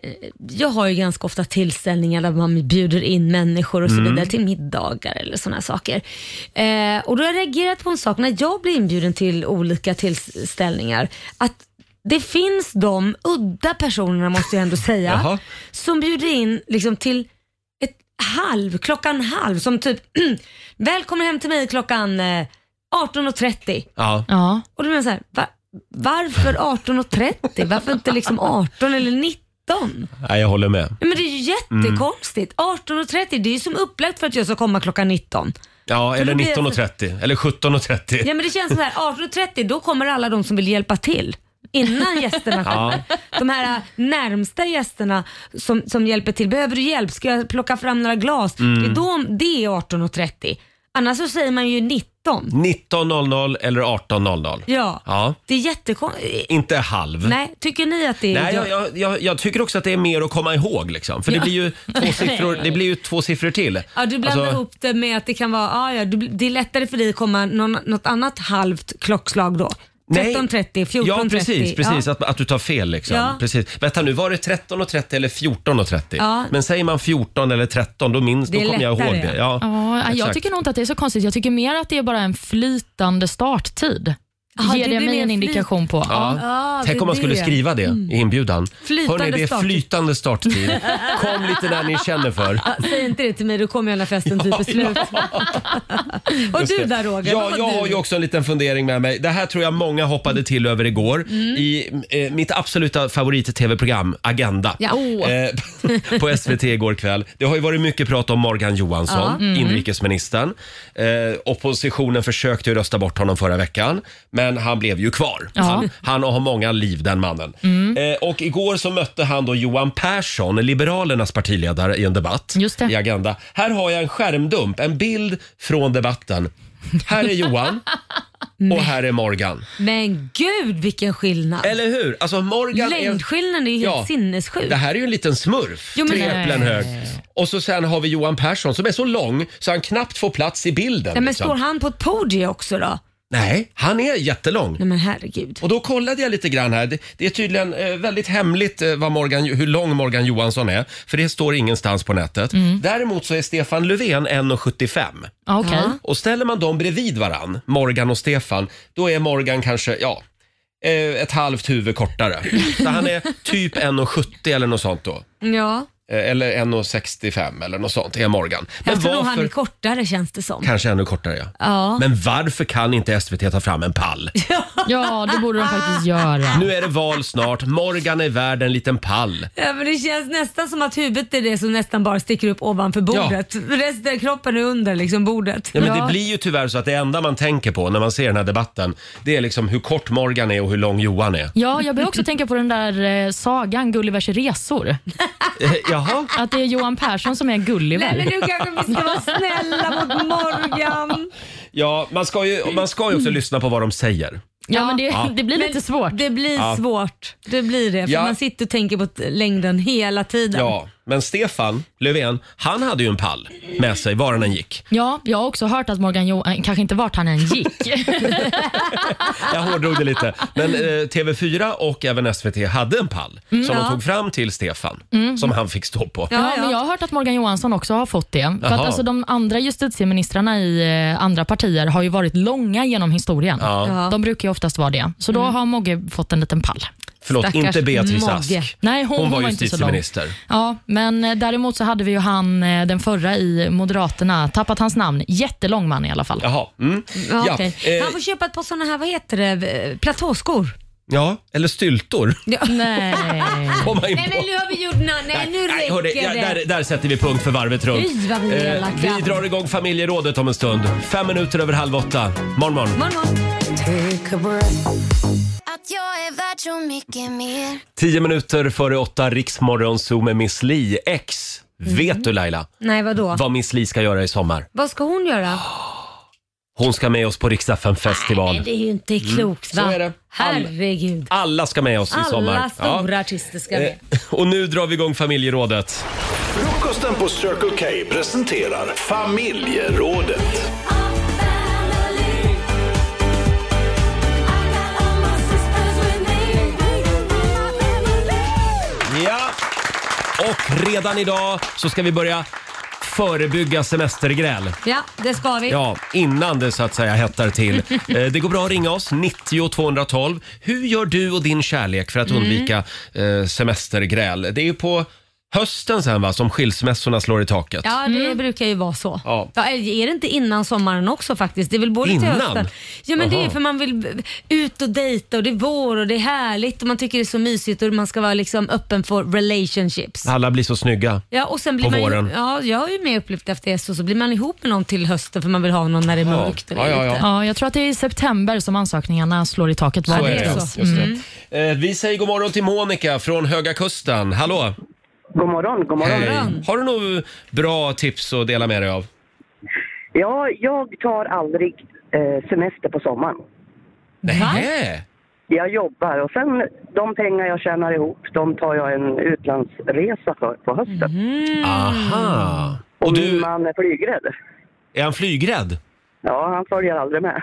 jag har ju ganska ofta tillställningar där man bjuder in människor och så
Mm.
vidare till middagar eller sådana saker. Eh, och då har jag reagerat på en sak när jag blir inbjuden till olika tillställningar. Att det finns de udda personerna måste jag ändå säga,
Jaha.
som bjuder in liksom till ett halv, klockan halv, som typ välkommen hem till mig klockan eh, 18.30.
Ja.
Ja.
Och då menar jag så här, va, varför 18.30? Varför inte liksom 18 eller 19?
Nej, jag håller med.
Nej, Men det är ju jättekonstigt.
Mm.
18.30, det är ju som upplagt för att jag ska komma klockan 19.
Ja, eller
då blir jag så-
19.30, eller 17.30.
Ja men det känns som så här, 18.30 då kommer alla de som vill hjälpa till. Innan gästerna kommer. De här äh, närmsta gästerna som, som hjälper till. Behöver du hjälp? Ska jag plocka fram några glas?
Mm.
Det, är då, det är 18.30. Annars så säger man ju 19.
19.00 eller 18.00.
Ja,
Ja.
det är jättekonstigt.
Inte halv.
Nej, tycker ni att det är...
Nej, jag, jag, jag, jag tycker också att det är mer att komma ihåg. Liksom. För det
Ja.
blir, ju två siffror, det blir ju två siffror till.
Ja, du blandar
Alltså,
ihop det med att det kan vara, ah, ja, du, det är lättare för dig att komma någon, något annat halvt klockslag då.
Nej.
13.30, 14.30.
Ja, precis. precis
Ja.
Att, att du tar fel. Liksom.
Ja.
Precis. Vänta nu, var det 13.30 eller 14.30?
Ja.
Men säger man 14 eller 13, då, minns, då
Det är
kommer jag ihåg
lättare.
det. Ja,
Ja, jag
exakt.
tycker nog inte att det är så konstigt. Jag tycker mer att det är bara en flytande starttid.
Ja,
Ger
det blir
det, mig
mer
en
flyt.
indikation på.
Ja.
Ja, det
Tänk om
är
man skulle
det.
skriva det i inbjudan.
Flytande
Hörrni, det är
start.
flytande starttid. Kom lite när ni känner för.
Ja, säg inte det till mig, då kommer hela festen till beslut. Och
Just
du
det.
där Roger,
Ja,
vad
jag
du?
har ju också en liten fundering med mig. Det här tror jag många hoppade till över igår.
Mm.
I eh, mitt absoluta favorit-tv-program, Agenda.
Ja. Oh. Åh.
Eh, på SVT igår kväll. Det har ju varit mycket prat om Morgan Johansson,
Ja. Mm.
inrikesministern. Eh, oppositionen försökte ju rösta bort honom förra veckan, men han blev ju kvar.
Ja.
Han, han har många liv den mannen.
Mm.
Eh, och igår så mötte han då Johan Persson, Liberalernas partiledare, i en debatt i Agenda. Här har jag en skärmdump, en bild från debatten. Här är Johan. och här är Morgan.
Men gud vilken skillnad!
Eller hur? Alltså Morgan
Längdskillnaden är ju helt sinnessjuk.
Det här är ju en liten smurf,
Jo, men-
tre
Nej.
äpplen hög. Och så sen har vi Johan Persson som är så lång så han knappt får plats i bilden.
Nej, men
liksom.
står han på ett podium också då?
Nej, han är jättelång.
Nej men herregud.
Och då kollade jag lite grann här. Det, det är tydligen eh, väldigt hemligt eh, vad Morgan, hur lång Morgan Johansson är, för det står ingenstans på nätet.
Mm.
Däremot så är Stefan Löfven 1,75.
Ja, okej. Ja.
Och ställer man dem bredvid varann, Morgan och Stefan, då är Morgan kanske, ja, eh, ett halvt huvud kortare. Så han är typ 1,70 eller något sånt då.
Ja,
Eh, Eller 1,65 eller något sånt är Morgan.
jag tror nog han
varför-
är kortare känns det som.
Kanske ännu kortare ja.
Ja.
Men varför kan inte SVT ta fram en pall?
Ja, det borde de faktiskt göra.
Nu är det val snart. Morgan är värd en liten pall.
Ja, men det känns nästan som att huvudet är det som nästan bara sticker upp ovanför bordet. Resten av kroppen är under liksom bordet.
Ja, men Det blir ju tyvärr så att det enda man tänker på när man ser den här debatten, det är liksom hur kort Morgan är och hur lång Johan är.
Ja, jag börjar också tänka på den där eh, sagan Gullivers resor.
Eh, Jaha?
Att det är Johan Persson som är Gulliver.
Nej, men nu kanske vi ska vara snälla mot Morgan.
Ja, man ska ju, man ska ju
Mm.
också lyssna på vad de säger.
Ja, men det,
Ja.
det blir
Men
lite svårt.
Det blir
Ja.
svårt. Det blir det. För
Ja.
man sitter och tänker på t- längden hela tiden.
Ja, men Stefan Löfven, han hade ju en pall med sig var han än gick.
Ja, jag har också hört att Morgan Johan, kanske inte vart han än gick.
Jag hårdrog det lite. Men eh, TV4 och även SVT hade en pall
Mm.
som
Ja.
de tog fram till Stefan,
Mm.
som han fick stå på.
Ja, Men jag har hört att Morgan Johansson också har fått det. För
Jaha.
att alltså, de andra justitieministrarna i eh, andra partier har ju varit långa genom historien.
Ja. Ja.
De brukar ju oftast vara det. Så då har Mogge fått en liten pall.
Förlåt,
Stackars
inte Beatrice
Mogge.
Ask.
Nej, hon, hon
var
var inte så lång.
justitieminister.
Ja, men eh, däremot så hade vi ju han, eh, den förra i Moderaterna, tappat hans namn. Jättelång man i alla fall.
Jaha. Mm.
Ja,
Ja,
okej.
eh,
Han får köpa ett par sådana här, vad heter det, eh, platåskor.
ja, eller styltor.
Nej.
Komma in
Nej
på.
men nu har vi gjort na- Nej nu räcker
hörde, ja,
det.
där, där sätter vi punkt för varvet runt. Eh,
Fy, vad vi är elaka.
vi drar igång familjerådet om en stund. Fem minuter över halv åtta. Morgon, morgon.
Att jag är värd så mycket mer.
Tio minuter före åtta, Riksmorgon Zoo med Miss Li. X.
Mm.
Vet du Laila
Nej vadå?
vad Miss Li ska göra i sommar?
Vad ska hon göra?
Ah, Hon ska med oss på Riksdagen festival.
Nej, det är ju inte klokt
Mm,
va?
så är det. All-
Herregud.
Alla ska med oss i sommar.
Alla stora
Ja.
artister ska
Eh,
med.
Och nu drar vi igång familjerådet.
Frukosten på Circle K presenterar familjerådet.
Ja. Och redan idag så ska vi börja förebygga semestergräl.
Ja, det ska vi.
Ja, innan det så att säga hettar till. Eh, Det går bra att ringa oss, 90 212. Hur gör du och din kärlek för att
Mm.
undvika eh, semestergräl? Det är ju på hösten sen va, som skilsmässorna slår i taket.
Ja, det brukar ju vara så.
Mm. Ja.
Ja, är det inte innan sommaren också faktiskt? Det är väl både till
Innan?
hösten? Ja, men det
Jaha.
är för man vill b- ut och dejta och det är vår och det är härligt och man tycker det är så mysigt och man ska vara liksom öppen för relationships.
Alla blir så snygga.
Ja, och sen blir
På
man
våren.
Ju, ja, jag har ju med upplevt efter det så, så blir man ihop med någon till hösten för man vill ha någon när det är
Ja.
mörkt. och det är
Ja, ja, ja.
lite-
Ja, jag tror att det är i september som ansökningarna slår i taket.
Så
var
är det.
det.
Just
Mm.
det. Eh, Vi säger god morgon till Monica från Höga Kusten. Hallå!
God morgon, god morgon.
Hej. Har du några bra tips att dela med dig av?
Ja, jag tar aldrig eh, semester på sommaren.
Nej.
Jag jobbar och sen de pengar jag tjänar ihop, de tar jag en utlandsresa för på hösten.
Mm-hmm. Aha!
Och, min man är flygrädd.
Är han flygrädd?
Ja, han följer aldrig med.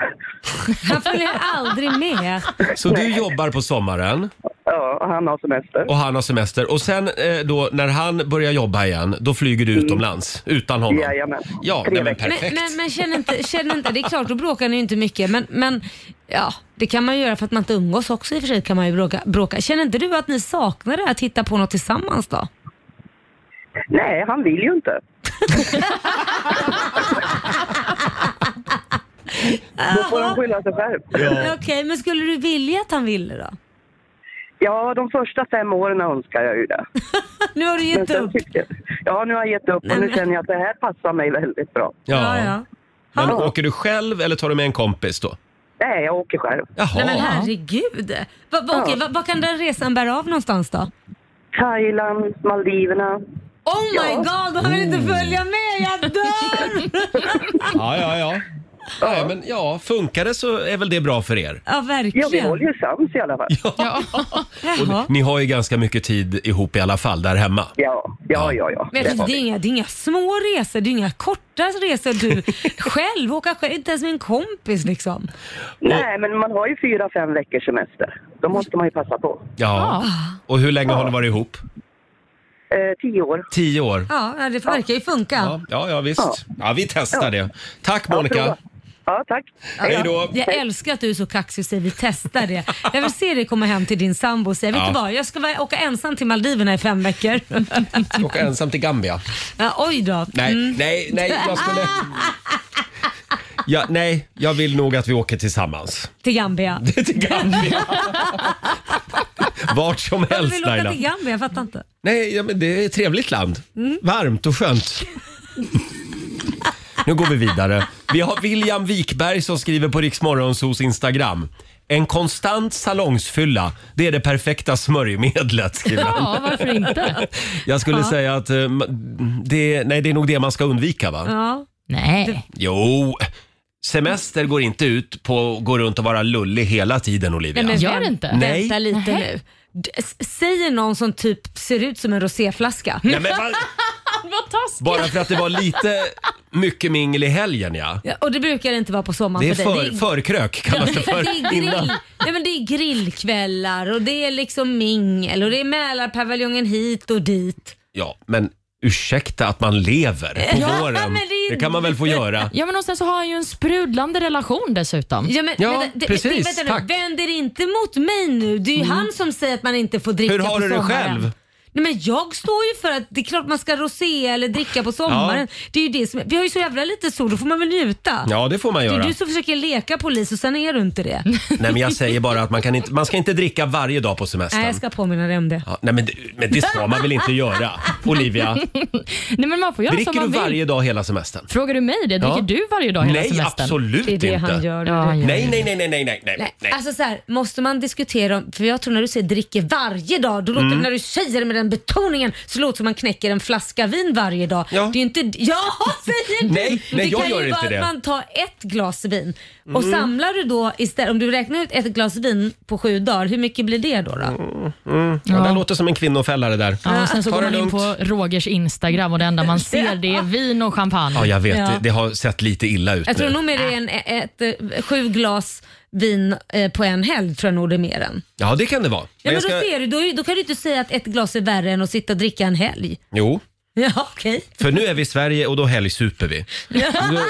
Han följer aldrig med.
Så du jobbar på sommaren?
Ja, och han har semester.
Och han har semester. Och sen eh, då när han börjar jobba igen, då flyger du utomlands utan honom?
Jajamän.
Ja, nej, men perfekt.
Men, men, men känner inte, känner inte, det är klart, då bråkar ni ju inte mycket. Men, men ja, det kan man ju göra för att man inte umgås också i och för sig. Kan man ju bråka, bråka. Känner inte du att ni saknar det här att titta på något tillsammans då?
Nej, han vill ju inte. Då får han skylla sig själv.
Okej, men skulle du vilja att han ville då?
Ja, de första fem åren önskar jag ju det.
nu har du gett
upp? Ja, nu har jag gett upp och nu känner jag att det här passar mig väldigt bra.
Ja.
ja.
Men
Ja.
åker du själv eller tar du med en kompis då?
Nej, jag åker själv.
Nej men
Ja.
herregud. Va, va, okej, va, vad kan den resan bära av någonstans då?
Thailand, Maldiverna.
Oh.
Oh my god, han vill inte följa med, jag dör!
Ja, ja, ja. Nej, men ja, funkar det så är väl det bra för er.
Ja, verkligen.
Ja, vi håller ju sams i alla fall.
Ja.
Jaha.
Ni har ju ganska mycket tid ihop i alla fall där hemma.
Ja, ja, ja.
Men jag tycker, det, är inga, det är inga små resor, det är inga korta resor. Du själv, åka själv, inte ens med en kompis liksom.
Nej, men man har ju fyra, fem veckors semester. Då måste man ju passa på.
Ja. Och hur länge har ni varit ihop?
Eh, tio år.
Tio år?
Ja, ja, det verkar ju funka.
Ja, ja visst. Ja, vi testar det. Tack Monica.
Ja, tack.
Hej då.
Jag älskar att du är så kaxig och säger vi testar det. Jag vill se dig komma hem till din sambo och säga, vet
Ja.
du vad, jag ska vara- åka ensam till Maldiverna i fem veckor.
Åka ensam till Gambia.
ja, oj då.
Nej, nej, nej, jag skulle... Ja, nej, jag vill nog att vi åker tillsammans.
Till Gambia.
till Gambia. Vart som
Varför
helst
vill du åka
Laila.
till Mm. Gambia? Jag fattar inte.
Nej, ja, men det är ett trevligt land. Varmt och skönt. Nu går vi vidare. Vi har William Wikberg som skriver på Riksmorgonsos Instagram. En konstant salongsfylla, det är det perfekta smörjmedlet, skriver han.
Ja, varför inte?
Jag skulle
Ja.
säga att eh, ma- det, nej, det är nog det man ska undvika va?
Ja.
Nej.
Jo, semester går inte ut på att gå runt och vara lullig hela tiden Olivia.
Nej, men
Gör
vänt-
det inte.
Nej.
Vänta lite nu. D- s- Säger någon som typ ser ut som en roséflaska.
Nej, men vad-
Vad taskigt.
Bara för att det var lite mycket mingel i helgen ja.
Ja, och det brukar det inte vara på sommaren
Det är
för dig.
för, förkrök kallas det Alltså, för.
det är grill, nej, men det är grillkvällar och det är liksom mingel och det är Mälarpaviljongen hit och dit.
Ja, men ursäkta att man lever på
Ja,
våren.
men det är-
Det kan man väl få göra.
Ja, men och sen så har han ju en sprudlande relation dessutom.
Ja, men,
Ja,
vänta, det-
precis,
det- vänta
tack. Mm.
nu, vänd er inte mot mig nu. Det är ju han som säger att man inte får dricka
Hur har
på
du det
sommaren.
själv?
Nej, men jag står ju för att det är klart man ska rosé eller dricka på sommaren. Det är ju det som, vi har ju så jävla lite sol, då får man väl njuta.
Ja, det får man
det är
göra.
du som försöker leka polis och sen är du inte det.
Nej, men jag säger bara att man, kan inte, man ska inte dricka varje dag på
Nej, jag
semestern.
ska påminna dig om det.
Ja, nej, men, det- men det ska man väl inte göra, Olivia?
Nej, men man får göra
Dricker
som
du
man vill.
varje dag hela semestern?
Frågar du mig det? Dricker
Ja.
du varje dag hela
Nej,
semestern?
absolut Det är det inte. han gör.
Ja, han gör
Nej, nej,
det.
nej, nej, nej, nej, nej, nej.
Alltså så här, måste man diskutera om, för jag tror när du säger dricker varje dag, då låter
Mm.
det när du säger det med den betoningen så låter det som man knäcker en flaska vin varje dag. Det är ju inte, ja säger du!
Nej, nej,
det
jag
kan
gör
ju
inte
vara
det.
att man tar ett glas vin och
Mm.
samlar du då istället, om du räknar ut ett glas vin på sju dagar, hur mycket blir det då? då?
Mm. Ja,
Ja.
det låter som en kvinnofälla det där.
Ja, och sen så
Ta
går
det
man in
lugnt.
på Rogers Instagram och det enda man ser det är vin och champagne.
Ja, jag vet. Det, det har sett lite illa ut
Jag tror
nu.
nog mer det är en, ett, eh, sju glas vin eh, på en helg tror jag nog det är mer än.
Ja, det kan det vara.
Ja, men
jag
då, ser du, då, är- då kan du inte säga att ett glas är värre än att sitta och dricka en helg.
Jo,
Ja, okej.
för nu är vi i Sverige och då helgsuper vi. Nu,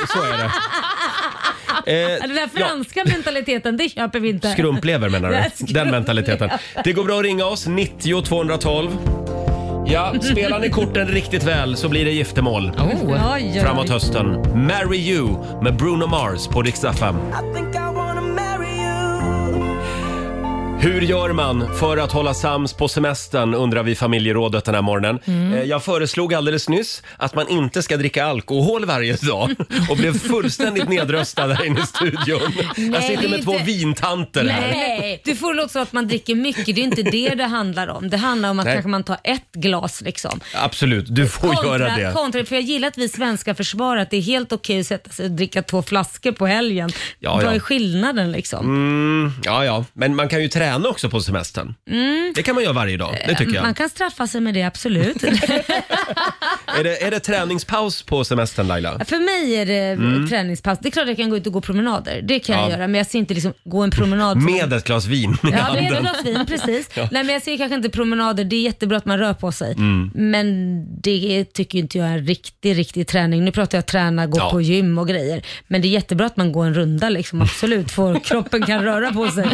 så är det. Eh,
Den där
ja.
franska mentaliteten, det köper vi inte.
Skrumplever menar
Ja,
du?
skrumplever.
Den mentaliteten. Det går bra att ringa oss, 90 212. Ja, spelar ni korten riktigt väl så blir det giftermål.
Oh.
Oj, oj, oj.
Framåt hösten. Marry You med Bruno Mars på Rix FM. Hur gör man för att hålla sams på semestern undrar vi familjerådet den här morgonen.
Mm.
Eh, Jag föreslog alldeles nyss att man inte ska dricka alkohol varje dag och blev fullständigt nedröstad här inne i studion.
Nej,
jag sitter
det
med
är
två
inte-
vintanter här.
Nej, du får det låta som att man dricker mycket. Det är inte det det handlar om. Det handlar om att
Nej.
kanske man tar ett glas liksom.
Absolut, du får göra det.
kontra, för jag gillar att vi svenskar försvarar att det är helt okej att sätta sig och dricka två flaskor på helgen.
Ja,
Vad
ja.
är skillnaden liksom?
Mm, ja, ja, men man kan ju träna också på semestern.
Mm. Eh,
Det kan man göra varje dag, det tycker jag.
Man kan straffa sig med det, absolut.
Är, det, är det träningspaus på semestern Laila?
För mig är det
Mm.
träningspass. Det är klart jag kan gå ut och gå promenader. Det kan jag
Ja.
göra, men jag ser inte liksom gå en promenad som-
Med ett glas vin i
Ja,
handen.
med ett glas vin, precis.
Ja.
Nej, men jag ser kanske inte promenader, det är jättebra att man rör på sig.
Mm.
Men det tycker ju inte jag är en riktig, riktig träning. Nu pratar jag träna, gå
Ja.
på gym och grejer. Men det är jättebra att man går en runda liksom, absolut, för kroppen kan röra på sig.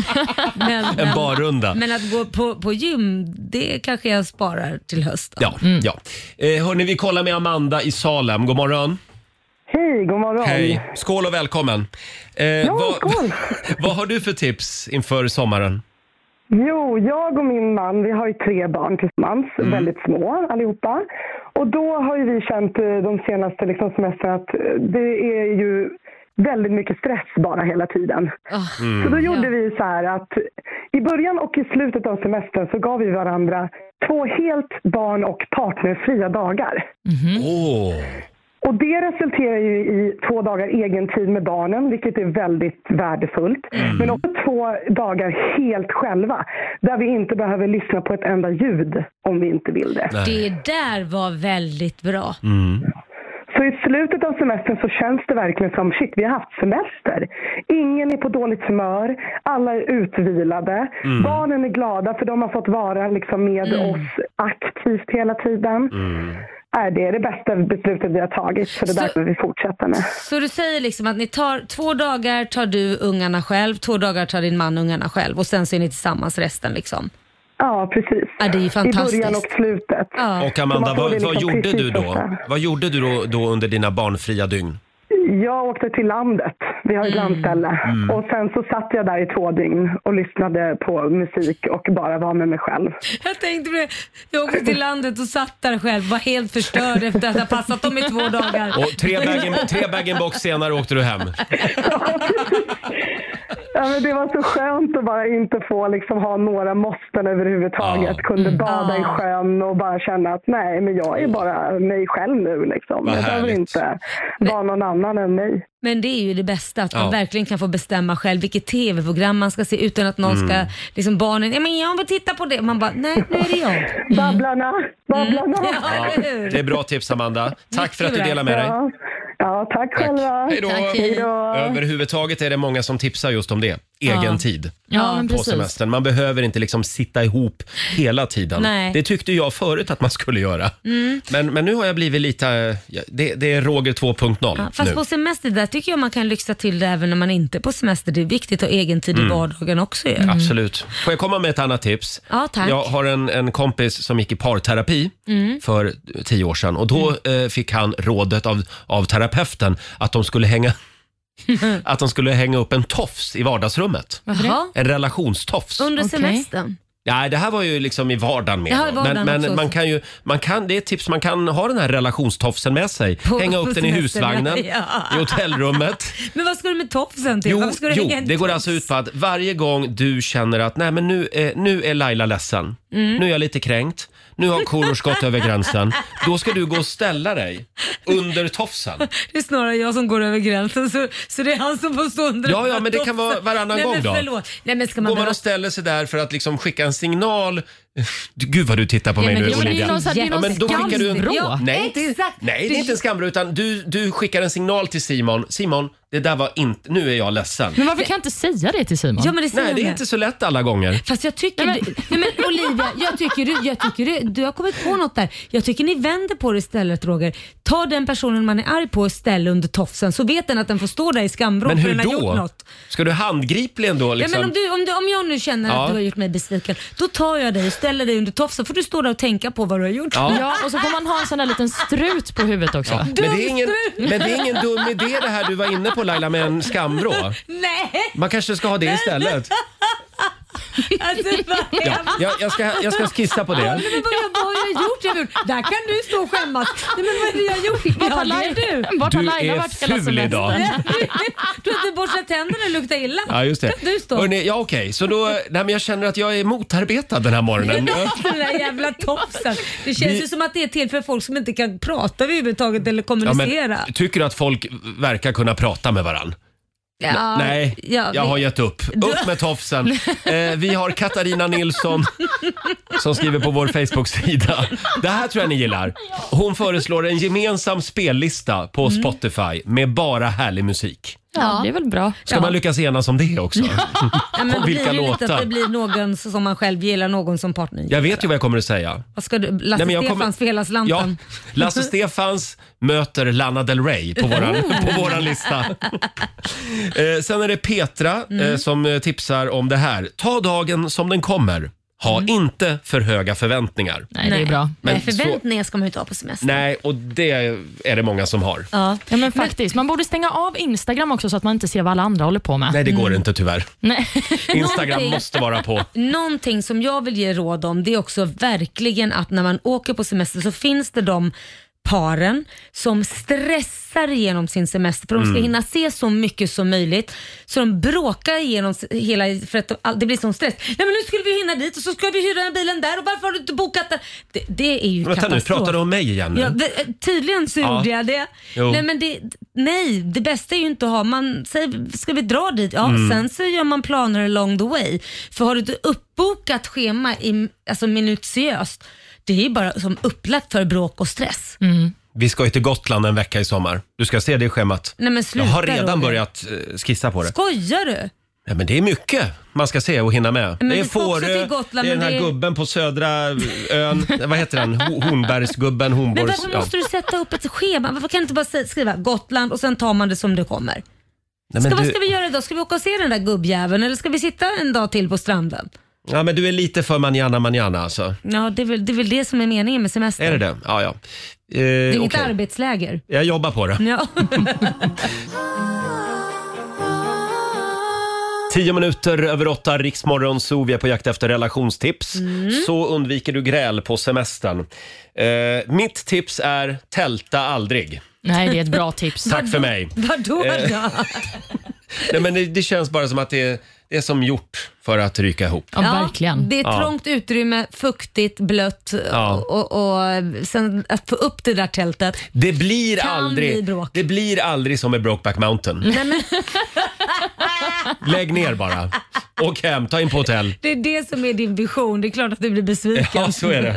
Men,
En barrunda.
Men att gå på, på gym, det kanske jag sparar till hösten.
Ja, ja. Eh, hörni, vi kollar med Amanda i Salem. God morgon.
Hej, god morgon.
Hej. Skål och välkommen. Eh,
Ja,
vad,
skål.
vad har du för tips inför sommaren?
Jo, jag och min man, vi har ju tre barn tillsammans, väldigt små allihopa. Och då har ju vi känt eh, de senaste liksom, semestrarna att eh, det är ju väldigt mycket stress bara hela tiden.
Mm.
Så då gjorde vi så här att i början och i slutet av semestern så gav vi varandra två helt barn och partnerfria dagar.
Åh!
Och det resulterar ju i två dagar egen tid med barnen, vilket är väldigt värdefullt. Men också två dagar helt själva, där vi inte behöver lyssna på ett enda ljud om vi inte vill det.
Det där var väldigt bra.
Mm.
Så i slutet av semestern så känns det verkligen som shit, vi har haft semester. Ingen är på dåligt humör, alla är utvilade.
Mm.
Barnen är glada för de har fått vara liksom med
Mm.
oss aktivt hela tiden. Nej, det är det bästa beslutet vi har tagit, så det är
Så-
därför vi fortsätter med.
Så du säger liksom att ni tar två dagar tar du ungarna själv, två dagar tar din man ungarna själv och sen så är ni tillsammans resten liksom.
Ja, precis.
Ja, Äh, det är ju fantastiskt.
I början och slutet.
Och
Så
Amanda,
man får det
vad, vad
liksom
gjorde
precis
du då?
första.
Vad gjorde du då, då under dina barnfria dygn?
Jag åkte till landet. Vi har ett landställe.
Mm.
Och sen så satt jag där i två dygn och lyssnade på musik och bara var med mig själv.
Jag tänkte på det. Jag åkte till landet och satt där själv, var helt förstörd efter att ha passat dem i två dagar.
Och tre bag-in- tre bag-in-box senare åkte du hem.
Ja, men det var så skönt att bara inte få liksom ha några måsten överhuvudtaget. Kunde bada i sjön och bara känna att nej, men jag är bara mig själv nu. Liksom.
Vad
Jag behöver
härligt.
inte vara någon annan än mig.
Men det är ju det bästa, att man
Ja.
verkligen kan få bestämma själv vilket tv-program man ska se utan att någon
Mm.
ska, liksom barnen, ja men jag vill titta på det. Man bara, nej nu är det jag.
Babblarna, babblarna.
Ja, eller hur?
det är bra tips Amanda. Tack för att du
Mycket bra.
delar med dig.
Ja, ja tack själva.
Hej då.
Hej då.
Överhuvudtaget är det många som tipsar just om det. Egen
Ja.
tid
Ja, men
på
precis.
semestern. Man behöver inte liksom sitta ihop hela tiden.
Nej.
Det tyckte jag förut att man skulle göra.
Mm.
Men, men nu har jag blivit lite... eh, Det, det är Roger 2.0
Ja, fast
nu.
på semester, där tycker jag man kan lyxa till det även när man inte är på semester. Det är viktigt att ha egen tid i
Mm.
vardagen också ju.
Absolut. Får jag komma med ett annat tips?
Ja, tack.
Jag har en, en kompis som gick i parterapi
Mm.
för tio år sedan och då eh, fick han rådet av, av terapeuten att de skulle hänga att de skulle hänga upp en tofs i vardagsrummet.
Varför det? Jaha.
En relationstofs.
Under semestern?
Nej, det här var ju liksom i vardagen. Med
Jaha, i
då.
vardagen
men men
också.
man kan ju, man kan, det är ett tips, man kan ha den här relationstofsen med sig.
På-
Hänga upp
på
den i
semestern,
husvagnen,
ja.
i hotellrummet.
Men vad ska du med tofsen till?
Jo,
Varför ska du
jo
hänga en
det går alltså ut på att varje gång du känner att nej, men nu, är, nu är Laila ledsen,
Mm.
nu är jag lite kränkt, nu har Korosh gått över gränsen. Då ska du gå och ställa dig under tofsen.
Det är snarare jag som går över gränsen så, så det är han som får stå under
Ja, ja, men det kan vara varannan
Nej,
gång
men
då.
förlåt. Nej, men ska man
Går man
behöva...
och ställer sig där för att liksom skicka en signal. Du, Gud vad du tittar på
Ja,
mig
men
nu
det är ju
Olivia.
någon sån- det är
ja,
någon
men då skickar du en
skambrå. Ja,
nej, det är-
exakt.
nej, det
Du-
är inte en skambrå utan du, du skickar en signal till Simon. Simon, det där var inte, nu är jag ledsen.
Men varför kan jag inte säga det till Simon?
Ja, men det säger Nej, det är jag. inte så lätt alla gånger.
Fast jag tycker... Nej, men, nej, men Olivia, jag tycker, du, jag tycker du, du har kommit på något där. Jag tycker ni vänder på det istället Roger. Ta den personen man är arg på och ställ under tofsen så vet den att den får stå där i skambron
Men
för
hur
den har gjort
då?
något.
Ska du handgripligen då liksom?
Ja, men om, du, om, du, om jag nu känner
Ja.
att du har gjort mig besviken, då tar jag dig och ställer dig under tofsen får du stå där och tänka på vad du har gjort.
Ja.
Ja, och så får man ha en sån där liten strut på huvudet också.
Ja, Men det, är ingen, men det är ingen dum idé det här du var inne på Laila med en skamvrå.
Nej!
Man kanske ska ha det istället.
Alltså, vad
Ja, jag, jag, ska, jag ska skissa på
Ja,
det.
men vad, jag, vad har jag gjort? Jag har gjort? Där kan du stå och skämmas. Nej, men vad är det jag har gjort?
Vart
Ja,
har
det
Laila-
är
vart har Du Laila är varit hela ful semestern? idag.
Du har inte borstat tänderna och luktar illa.
Ja, just det.
Kan du stå?
Hörrni, ja, okej. Så då, nej, men jag känner att jag är motarbetad den här morgonen.
Den där jävla tofsen. Det känns
Vi-
ju som att det är till för folk som inte kan prata överhuvudtaget eller
Ja, men,
kommunicera.
tycker du att folk verkar kunna prata med varann?
Ja,
Nej,
ja,
jag
vi-
har gett upp. Upp med tofsen. Eh, vi har Katarina Nilsson som skriver på vår Facebook-sida. Det här tror jag ni gillar. Hon föreslår en gemensam spellista på
Mm.
Spotify med bara härlig musik.
Ja, det är väl bra.
Ska man lyckas enas om det också?
Ja, men
På
det
vilka
blir ju lite
låtar?
att det blir någon som man själv gillar, någon som partnern gillar.
Jag vet ju vad jag kommer att säga.
Vad ska du,
Nej,
Lasse
men jag kommer-
Stefans för hela
Ja,
slanten.
Lasse Stefans möter Lana Del Rey på våran,
Oh.
på våran lista. Eh, sen är det Petra eh,
Mm.
som eh, tipsar om det här. Ta dagen som den kommer. Ha inte för höga förväntningar. Men
Mm. Nej,
så,
förväntningar ska man ju inte ha på semester.
nej, och det är det många som har.
Ja.
men faktiskt. Man borde stänga av Instagram också så att man inte ser vad alla andra håller på med.
Nej, det går
Mm.
inte tyvärr.
Nej.
Instagram
Någonting-
måste vara på.
Någonting som jag vill ge råd om det är också verkligen att när man åker på semester så finns det de paren som stressar igenom sin semester för de ska
Mm.
hinna se så mycket som möjligt. Så de bråkar igenom s- hela, för att de, all- det blir sån stress. Nej men nu skulle vi hinna dit och så ska vi hyra den bilen där och varför har du inte bokat den? Det, det är ju
Vänta nu,
katastrof.
pratar du om mig igen nu?
Ja, det- eh, tydligen så
Ja.
gjorde jag det.
Jo.
Nej, men det. Nej, det bästa är ju inte att ha, man säger ska vi dra dit? Ja,
Mm.
sen så gör man planer along the way. För har du ett uppbokat schema i, alltså minutiöst, det är ju bara som upplagt för bråk och stress.
Mm. Vi ska ju till Gotland en vecka i sommar. Du ska se det schemat.
Nej, men
Jag
sluta,
har redan
Roger.
börjat eh, skissa på det.
Skojar du?
Nej, men det är mycket man ska se och hinna med.
Men
det är
vi ska också till Gotland,
det är den
men
här
det är-
gubben på södra eh, ön. Vad heter han? Ho- Hornbergsgubben,
Men
Hornborgs...
varför måste du sätta upp ett schema? Varför kan du inte bara sä- skriva Gotland och sen tar man det som det kommer?
Nej, men
Ska, Vad
du-
ska vi göra idag? Ska vi åka och se den där gubbjäveln eller ska vi sitta en dag till på stranden?
Ja, men du är lite för manjana manjana alltså.
Ja, det är väl det, är väl det som är meningen med semestern.
Är det det? Ja, ja. Eh,
Det är
okej.
inget arbetsläger.
Jag jobbar på det.
Ja.
Tio minuter över åtta, Riksmorgon Zoo. Vi är på jakt efter relationstips.
Mm.
Så undviker du gräl på semestern. Eh, mitt tips är tälta aldrig.
Nej, det är ett bra tips.
Tack för mig.
Vadå
Eh.
då?
Nej, men det, det känns bara som att det är, det är som gjort för att ryka ihop.
Det är
Ja.
trångt utrymme, fuktigt, blött
Ja.
och, och sen att få upp det där tältet.
Det blir,
Kan bli
aldrig,
bråk.
det blir aldrig som i Brokeback Mountain.
Nej, men,
Lägg ner bara. Åk hem, ta in på hotell.
det är det som är din vision. Det är klart att du blir besviken.
Ja, så är det.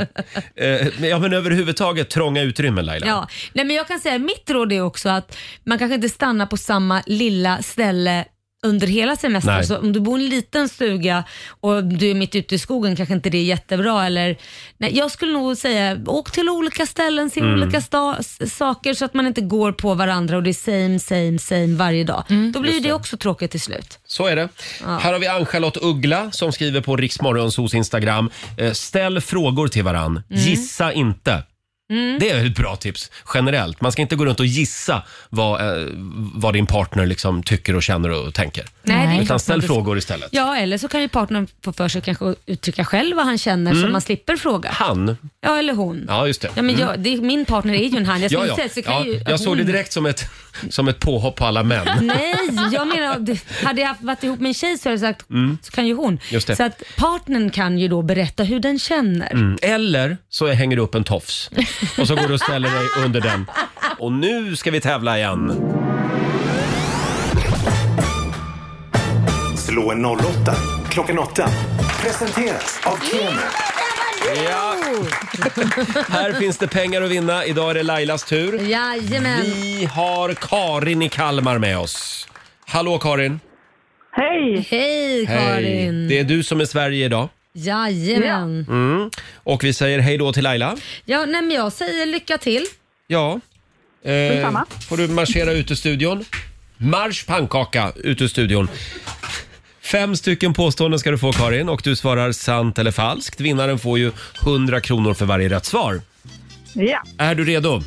Eh, men- Ja, men överhuvudtaget trånga utrymmen Laila.
Ja. Nej, men jag kan säga mitt råd är också att man kanske inte stannar på samma lilla ställe under hela semestern.
Nej.
Så om du bor i en liten stuga och du är mitt ute i skogen kanske inte det är jättebra. Eller, nej, jag skulle nog säga åk till olika ställen, se
Mm.
olika sta- s- saker så att man inte går på varandra och det är same, same, same varje dag. Då blir ju
Just
det
det.
också tråkigt till slut.
Så är det. Här har vi Ann-Charlotte Uggla som skriver på Riksmorgonsos Instagram. Eh, Ställ frågor till varann. Gissa inte.
Mm.
Det är ett bra tips generellt. Man ska inte gå runt och gissa vad, eh, vad din partner liksom tycker och känner och tänker.
Nej, det är klart man
Utan ställ
inte ska.
frågor istället.
Ja, eller så kan ju partnern få för sig kanske att uttrycka själv vad han känner så
Mm.
man slipper fråga.
Han.
Ja, eller hon.
Ja, just det.
Ja, men
Mm.
jag, det, är- min partner är ju en han. Jag,
Ja,
ja,
ja.
Säga, så kan
ja,
ju,
jag såg det
hon-
direkt som ett, som ett påhopp på alla män.
Nej, jag menar det- hade jag haft- varit ihop med en tjej så hade jag sagt
Mm.
så kan ju hon.
Just det.
Så att partnern kan ju då berätta hur den känner.
Mm. Eller så hänger du upp en tofs och så går du och ställer dig under den. Och nu ska vi tävla igen.
Slå en 08 klockan 8. Presenteras av Keno.
Ja. Här finns det pengar att vinna. Idag är det Lailas tur.
Jajamän.
Vi har Karin i Kalmar med oss. Hallå Karin!
Hej! Hej Karin!
Det är du som är Sverige idag.
Jajamän.
Mm. Och vi säger hej då till Laila.
Ja, nej, men jag säger lycka till.
Ja. Eh,
Detsamma.
får du marschera ut ur studion. Marsch pannkaka ut ur studion. Fem stycken påståenden ska du få Karin och du svarar sant eller falskt. Vinnaren får ju 100 kronor för varje rätt svar.
Ja,
Är du redo?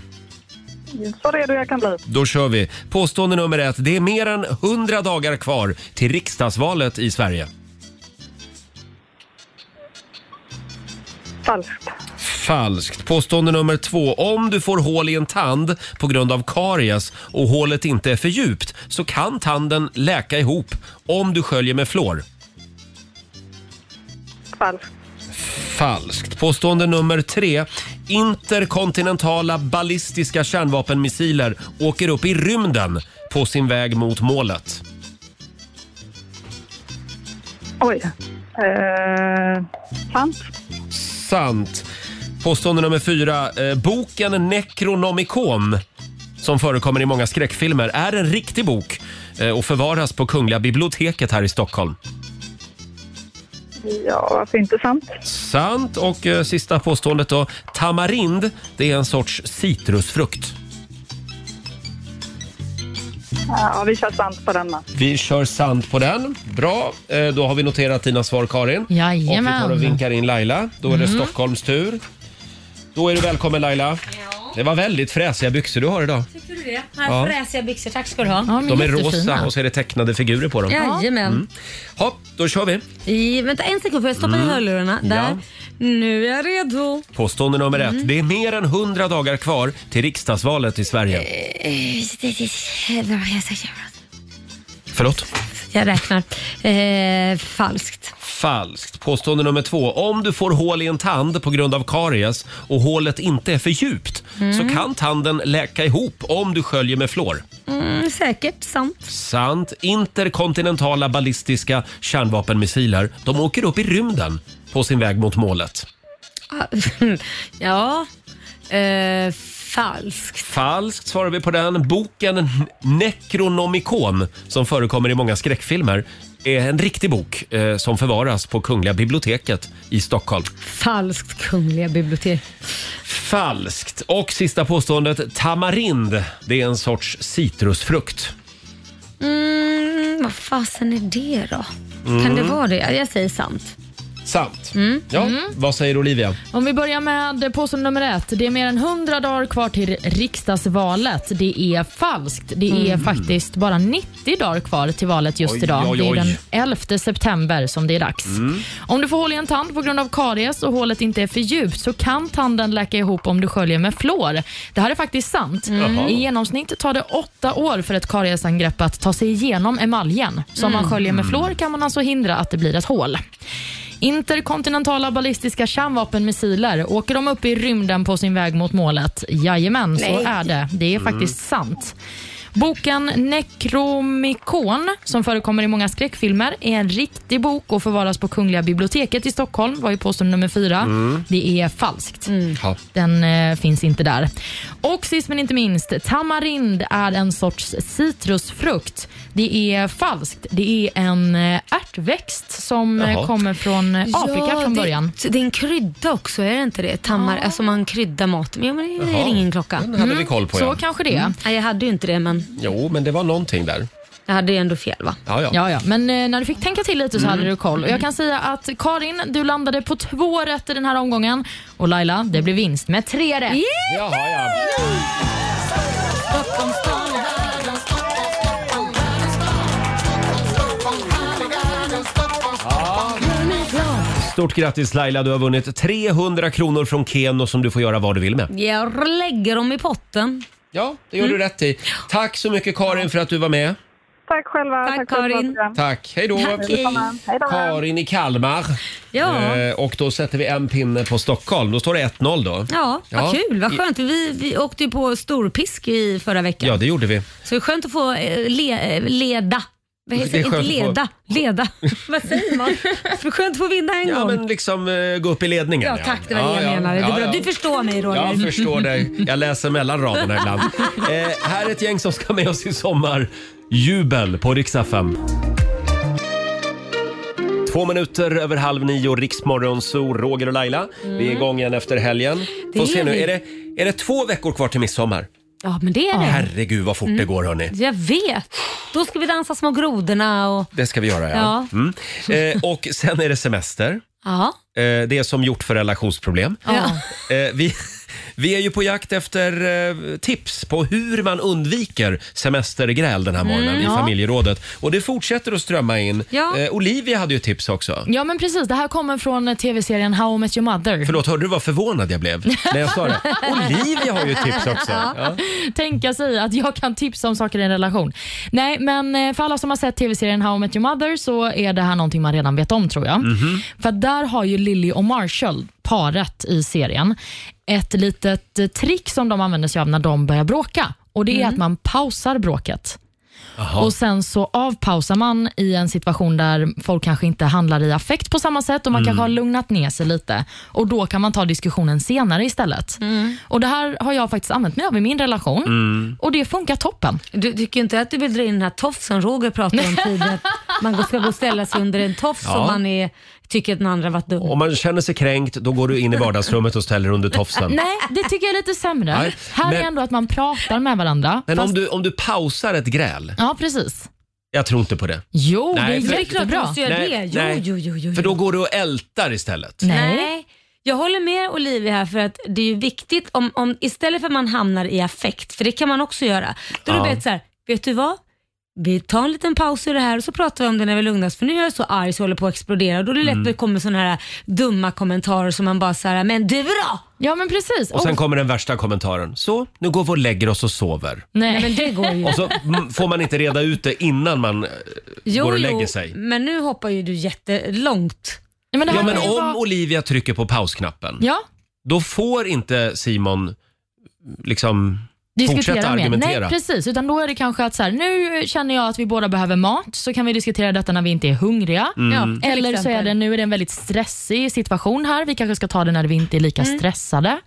så redo jag kan bli.
Då kör vi. Påstående nummer ett. Det är mer än 100 dagar kvar till riksdagsvalet i Sverige.
Falskt.
Falskt. Påstående nummer två. Om du får hål i en tand på grund av karies och hålet inte är för djupt så kan tanden läka ihop om du sköljer med flor.
Falskt.
Falskt. Påstående nummer tre. Interkontinentala ballistiska kärnvapenmissiler åker upp i rymden på sin väg mot målet.
Oj. Eh, sant.
Sant. Påstående nummer fyra. Eh, boken Necronomicon som förekommer i många skräckfilmer är en riktig bok eh, och förvaras på Kungliga biblioteket här i Stockholm.
Ja, varför inte sant?
Sant. Och eh, sista påståendet då. Tamarind, det är en sorts citrusfrukt.
Ja, vi kör sant på den.
Vi kör sant på den. Bra, Eh, då har vi noterat dina svar Karin.
Jajamän.
Och vi tar och vinkar in Laila. Då är det
Mm.
Stockholms tur. Då är du välkommen Laila. Det var väldigt fräsiga byxor du har idag.
Tycker du det? Här
Ja.
fräsiga byxor, tack ska du ha.
De är rosa och så är det tecknade figurer på dem.
Jajamän.
Hopp, då kör vi.
I, vänta en sekund, får jag stoppa
Mm.
i hörlurarna? Där.
Ja.
Nu är jag redo.
Påstående nummer ett. Det är mer än 100 dagar kvar till riksdagsvalet i Sverige. Förlåt?
Jag räknar. Eh, falskt.
Falskt. Påstående nummer två. Om du får hål i en tand på grund av karies och hålet inte är för djupt
Mm.
så kan tanden läka ihop om du sköljer med fluor.
Mm, säkert, sant.
Sant. Interkontinentala ballistiska kärnvapenmissiler, de åker upp i rymden på sin väg mot målet.
Ah, ja, eh, falskt.
Falskt svarar vi på den. Boken Necronomicon som förekommer i många skräckfilmer är en riktig bok eh, som förvaras på Kungliga biblioteket i Stockholm.
Falskt Kungliga bibliotek.
Falskt. Och sista påståendet. Tamarind, det är en sorts citrusfrukt.
Mm, vad fasen är det då? Kan
Mm.
det vara det? Ja, Jag säger sant.
Sant.
Mm.
Ja,
Mm.
vad säger Olivia?
Om vi börjar med påstående nummer ett. Det är mer än 100 dagar kvar till riksdagsvalet. Det är falskt. Det är
Mm.
faktiskt bara 90 dagar kvar till valet just
Oj,
idag.
oj,
Det är den
oj.
11 september som det är dags.
Mm.
Om du får hål i en tand på grund av karies och hålet inte är för djupt så kan tanden läka ihop om du sköljer med fluor. Det här är faktiskt sant.
Jaha.
I genomsnitt tar det åtta år för ett kariesangrepp att ta sig igenom emaljen. Så om man
Mm.
sköljer med fluor kan man alltså hindra att det blir ett hål. Interkontinentala ballistiska kärnvapenmissiler, åker de upp i rymden på sin väg mot målet? Jajamän,
Nej.
så är det. Det är
Mm.
faktiskt sant. Boken Necromicon, som förekommer i många skräckfilmer, är en riktig bok och förvaras på Kungliga biblioteket i Stockholm, var ju påstående nummer fyra.
Mm.
Det är falskt.
Ja.
Den eh, finns inte där. Och sist men inte minst, tamarind är en sorts citrusfrukt. Det är falskt. Det är en eh, ärtväxt som eh,
Jaha.
kommer från eh, Afrika
Ja,
från
det-
början.
Det, är en krydda också, är det inte det? Tammar, alltså man kryddar maten. Ja, men det
Jaha.
är ingen klocka.
Den hade vi koll på,
Så
ja.
kanske det är. Nej, jag Mm. hade ju inte det, men
Jo, men det var någonting där.
jag hade ju ändå fel va?
Ja, ja.
Ja, ja. Men eh, när du fick tänka till lite så
Mm.
hade du koll. Och jag kan säga att Karin, du landade på två rätt i den här omgången. Och Laila, det blev vinst med tre rätt.
Jaha, ja. Stort grattis Laila, du har vunnit 300 kronor från Keno som du får göra vad du vill med.
Jag lägger dem i potten.
Ja, Det gör
Mm.
du rätt i. Tack så mycket Karin för att du var med.
Tack själva. Tack, Karin.
Tack, hej då.
Hej då.
Karin i Kalmar.
Ja.
Eh, och då sätter vi en pinne på Stockholm. Då står det 1-0 då.
Ja, vad kul. Vad skönt. Vi, vi åkte ju på storpisk i förra veckan.
Ja, det gjorde vi.
Så det är skönt att få eh, le, eh, leda. Vad heter
Det är
det? Inte
skönt att få-
leda. Leda. vad säger man? Det är skönt att få vinna en
Ja,
gång.
men liksom eh, gå upp i ledningen.
Ja, tack. Det var det jag menade. Det är bra. Du förstår mig, Roger.
Jag förstår dig. Jag läser mellan raderna ibland. Eh, här är ett gäng som ska med oss i sommar. Jubel på riksdag 5. Två minuter över halv nio, Riksmorgon, så Roger och Laila. Vi är igång igen efter helgen.
Mm. Det
Får
är
se nu,
vi.
är det, är det två veckor kvar till midsommar?
Ja, men det är det.
Herregud vad fort
Mm.
det går hörni.
Jag vet. Då ska vi dansa Små grodorna och...
Det ska vi göra ja. Mm. Eh, och sen är det semester.
Ja.
Eh, det är som gjort för relationsproblem.
Ja.
Eh, vi, vi är ju på jakt efter eh, tips på hur man undviker semestergräl den här
Mm,
morgonen i
ja.
familjerådet. Och det fortsätter att strömma in.
Ja.
Eh, Olivia hade ju tips också.
Ja, men precis. Det här kommer från eh, tv-serien How I Met Your Mother.
Förlåt, hörde du vad förvånad jag blev när jag sa det? Olivia har ju tips också. Ja.
Tänka sig att jag kan tipsa om saker i en relation. Nej, men eh, för alla som har sett tv-serien How I Met Your Mother så är det här någonting man redan vet om tror jag.
Mhm.
För att där har ju Lily och Marshall, paret i serien, ett litet eh, trick som de använder sig av när de börjar bråka. Och Det är att man pausar bråket.
Jaha.
Och Sen så avpausar man i en situation där folk kanske inte handlar i affekt på samma sätt och man
Mm.
kanske har lugnat ner sig lite. Och Då kan man ta diskussionen senare istället.
Mm.
Och Det här har jag faktiskt använt mig av i min relation. Och det funkar toppen.
Du tycker inte att du vill dra in den här tofsen Roger pratade om tidigare? Att man ska gå och ställa sig under en tofs
Ja.
om man är, tycker att den andra varit dum.
Om man känner sig kränkt, då går du in i vardagsrummet och ställer under tofsen.
Nej, det tycker jag är lite sämre.
Nej,
här
men-
är ändå att man pratar med varandra.
Men
fast-
om du, om du pausar ett gräl,
Ja, precis.
jag tror inte på det.
Jo, det är
för-
jättebra.
Nej, nej, För då går du och ältar istället.
Nej.
Jag håller med Olivia här för att det är ju viktigt om, om istället för att man hamnar i affekt, för det kan man också göra. Då är det
Ja.
bättre så här, vet du vad? Vi tar en liten paus i det här och så pratar vi om det när vi lugnas för nu är jag så arg så jag håller på att explodera och då är det lätt
Mm.
att det kommer sådana här dumma kommentarer som man bara så här, men du då?
Ja men precis.
Och sen kommer den värsta kommentaren. Så, nu går vi och lägger oss och sover.
Nej. men
det går ju.
Och så mm, får man inte reda ut det innan man eh, går och lägger sig.
men nu hoppar ju du jättelångt.
men
ja, men om Olivia trycker på pausknappen,
Ja,
då får inte Simon liksom fortsätta
mer.
argumentera.
Nej, precis. Utan då är det kanske att så här, nu känner jag att vi båda behöver mat, så kan vi diskutera detta när vi inte är hungriga.
Mm. Ja, till
Eller så är
exempel.
det, nu är det en väldigt stressig situation här, vi kanske ska ta det när vi inte är lika
Mm.
stressade.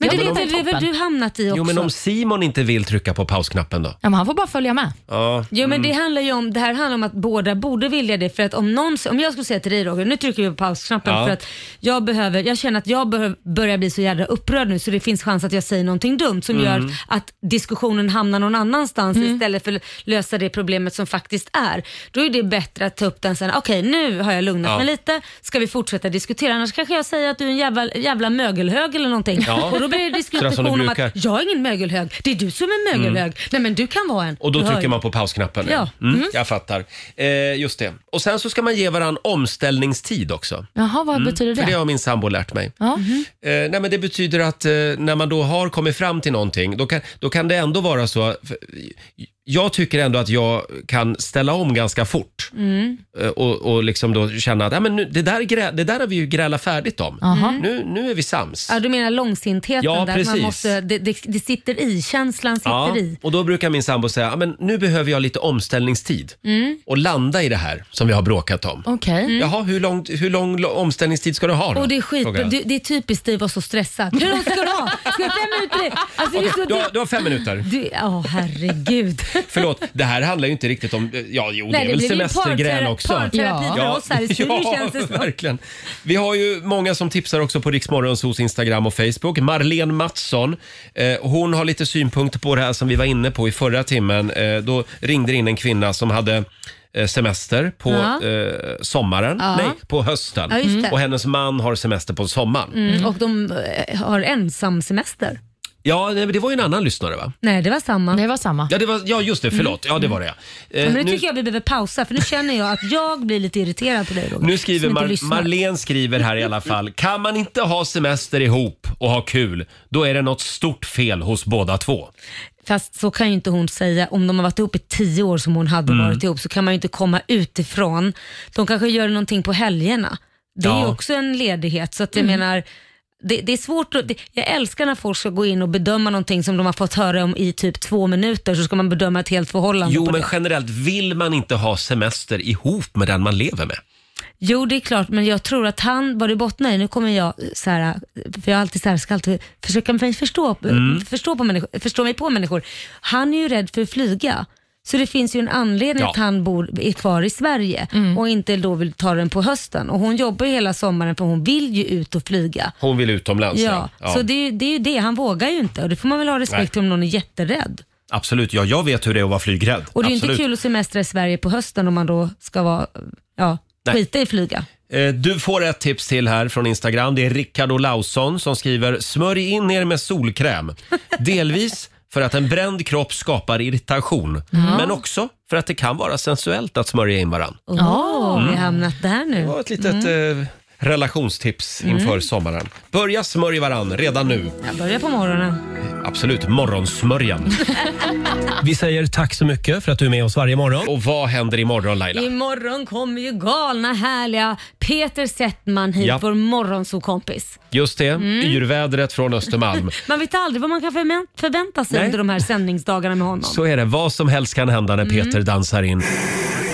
Men
Ja,
det är
men
inte
om-
det väl du hamnat i också.
Jo, men om Simon inte vill trycka på pausknappen då?
Ja, men han får bara följa med.
Ja.
Jo men det
Mm.
handlar ju om, det här handlar om att båda borde vilja det för att om någon, om jag skulle säga till dig Roger, nu trycker vi på pausknappen
Ja.
för att jag behöver, jag känner att jag behöv, börjar bli så jävla upprörd nu så det finns chans att jag säger någonting dumt som
Mm.
gör att diskussionen hamnar någon annanstans istället för att lösa det problemet som faktiskt är. Då är det bättre att ta upp den sen, okej nu har jag lugnat
Ja.
mig lite, ska vi fortsätta diskutera annars kanske jag säger att du är en jävla, jävla mögelhög eller någonting
Ja.
och då blir det
Sådär som
diskussion
det
om
brukar. Mm.
att jag är ingen mögelhög, det är du som är mögelhög, nej men du kan vara en.
Och då
Du hör
trycker
ju.
man på pausknappen. nu.
Ja.
Mm,
Mm.
Jag fattar. Eh, just det. Och sen så ska man ge varandra omställningstid också.
Jaha, vad
Mm,
betyder det?
För det har min sambo lärt mig.
Ja.
Eh, nej, men det betyder att eh, när man då har kommit fram till någonting, då kan, då kan det ändå vara så... för Jag tycker ändå att jag kan ställa om ganska fort
Mm.
eh, och, och liksom då känna att ja, men nu, det, där grä, det där har vi ju grälat färdigt om.
Aha. Mm.
Nu, nu är vi sams.
Ja, du menar långsintheten
Ja,
där. att Man
precis.
måste, det, det, det sitter i, känslan sitter
Ja,
i.
och då brukar min sambo säga, ja, men nu behöver jag lite omställningstid
Mm.
och landa i det här som vi har bråkat om.
Okej.
Jaha, hur lång, hur lång omställningstid ska du ha då?
Och det är
Frågar
skit,
jag.
det, det är typiskt dig att vara så stressad. Hur långt ska du ha? Ska jag fem minuter? Alltså, det är
Okej,
så,
du, har,
du,
du har fem minuter.
du, ja, herregud.
Förlåt, det här handlar ju inte riktigt om... eh, Ja, jo,
Nej,
det är väl
det blir ju
semestergrän
partera-
också.
parterapi för oss här i studion, känns det som.
verkligen. Vi har ju många som tipsar också på Riksmorgonsos Instagram och Facebook. Marlene Mattsson, eh, hon har lite synpunkter på det här som vi var inne på i förra timmen. Eh, då ringde in en kvinna som hade eh, semester på
Ja.
eh, sommaren,
Ja.
nej, på hösten.
Ja, just det.
och hennes man har semester på sommaren.
Mm, och de eh, har ensam semester.
Ja, nej, men det var ju en annan lyssnare va?
Nej, det var samma.
Det var samma.
Ja, det var, ja just det, förlåt. Ja, det var det ja. Eh,
Mm. Ja, men det
nu-
tycker jag vi behöver pausa för nu känner jag att jag blir lite irriterad på dig Roger.
Nu skriver
som inte
Mar-
lyssnar.
Marlene skriver här i alla fall. Kan man inte ha semester ihop och ha kul, då är det något stort fel hos båda två.
Fast så kan ju inte hon säga. Om de har varit ihop i tio år som hon hade
Mm.
varit ihop så kan man ju inte komma utifrån. De kanske gör någonting på helgerna. Det är ju
Ja.
också en ledighet. Så att jag
Mm.
menar, det, det är svårt att, det, Jag älskar när folk ska gå in och bedöma någonting som de har fått höra om i typ två minuter så ska man bedöma ett helt förhållande
Jo,
på
men
det.
generellt vill man inte ha semester ihop med den man lever med.
Jo, det är klart, men jag tror att han, vad det bottnar i, nu kommer jag så här, för jag är alltid så här, ska alltid försöka mig förstå,
Mm.
förstå, på människor, förstå mig på människor. Han är ju rädd för att flyga. Så det finns ju en anledning
Ja.
att han bor, är kvar i Sverige och inte då vill ta den på hösten. Och hon jobbar ju hela sommaren för hon vill ju ut och flyga.
Hon vill utomlands.
Ja, så det är, ju- det är ju det, han vågar ju inte och det får man väl ha respekt
Nej.
om någon är jätterädd.
Absolut, ja, jag vet hur det är att vara flygrädd.
Och det är ju inte
Absolut.
kul att semestra i Sverige på hösten om man då ska vara, ja,
Nej.
skita i flyga.
Eh, Du får ett tips till här från Instagram. Det är Rickard Olausson som skriver “Smörj in er med solkräm”. Delvis för att en bränd kropp skapar irritation,
Ja.
men också för att det kan vara sensuellt att smörja in varann.
Åh, oh, vi
Mm.
har hamnat där nu. Det
var ett litet... Eh, Relationstips inför
Mm.
sommaren. Börja smörja varann redan nu.
Jag börjar på morgonen.
Absolut, morgonsmörjan. Vi säger tack så mycket för att du är med oss varje morgon. Och vad händer imorgon Laila?
Imorgon kommer ju galna härliga Peter Settman hit,
Ja.
vår morgonsokompis.
Just det,
Mm.
yrvädret från Östermalm.
Man vet aldrig vad man kan förvä- förvänta sig
Nej.
under de här sändningsdagarna med honom.
Så är det, vad som helst kan hända när
Mm.
Peter dansar in.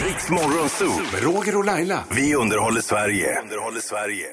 Riks Morgonzoo med Roger och Laila. Vi underhåller Sverige. Underhåller Sverige.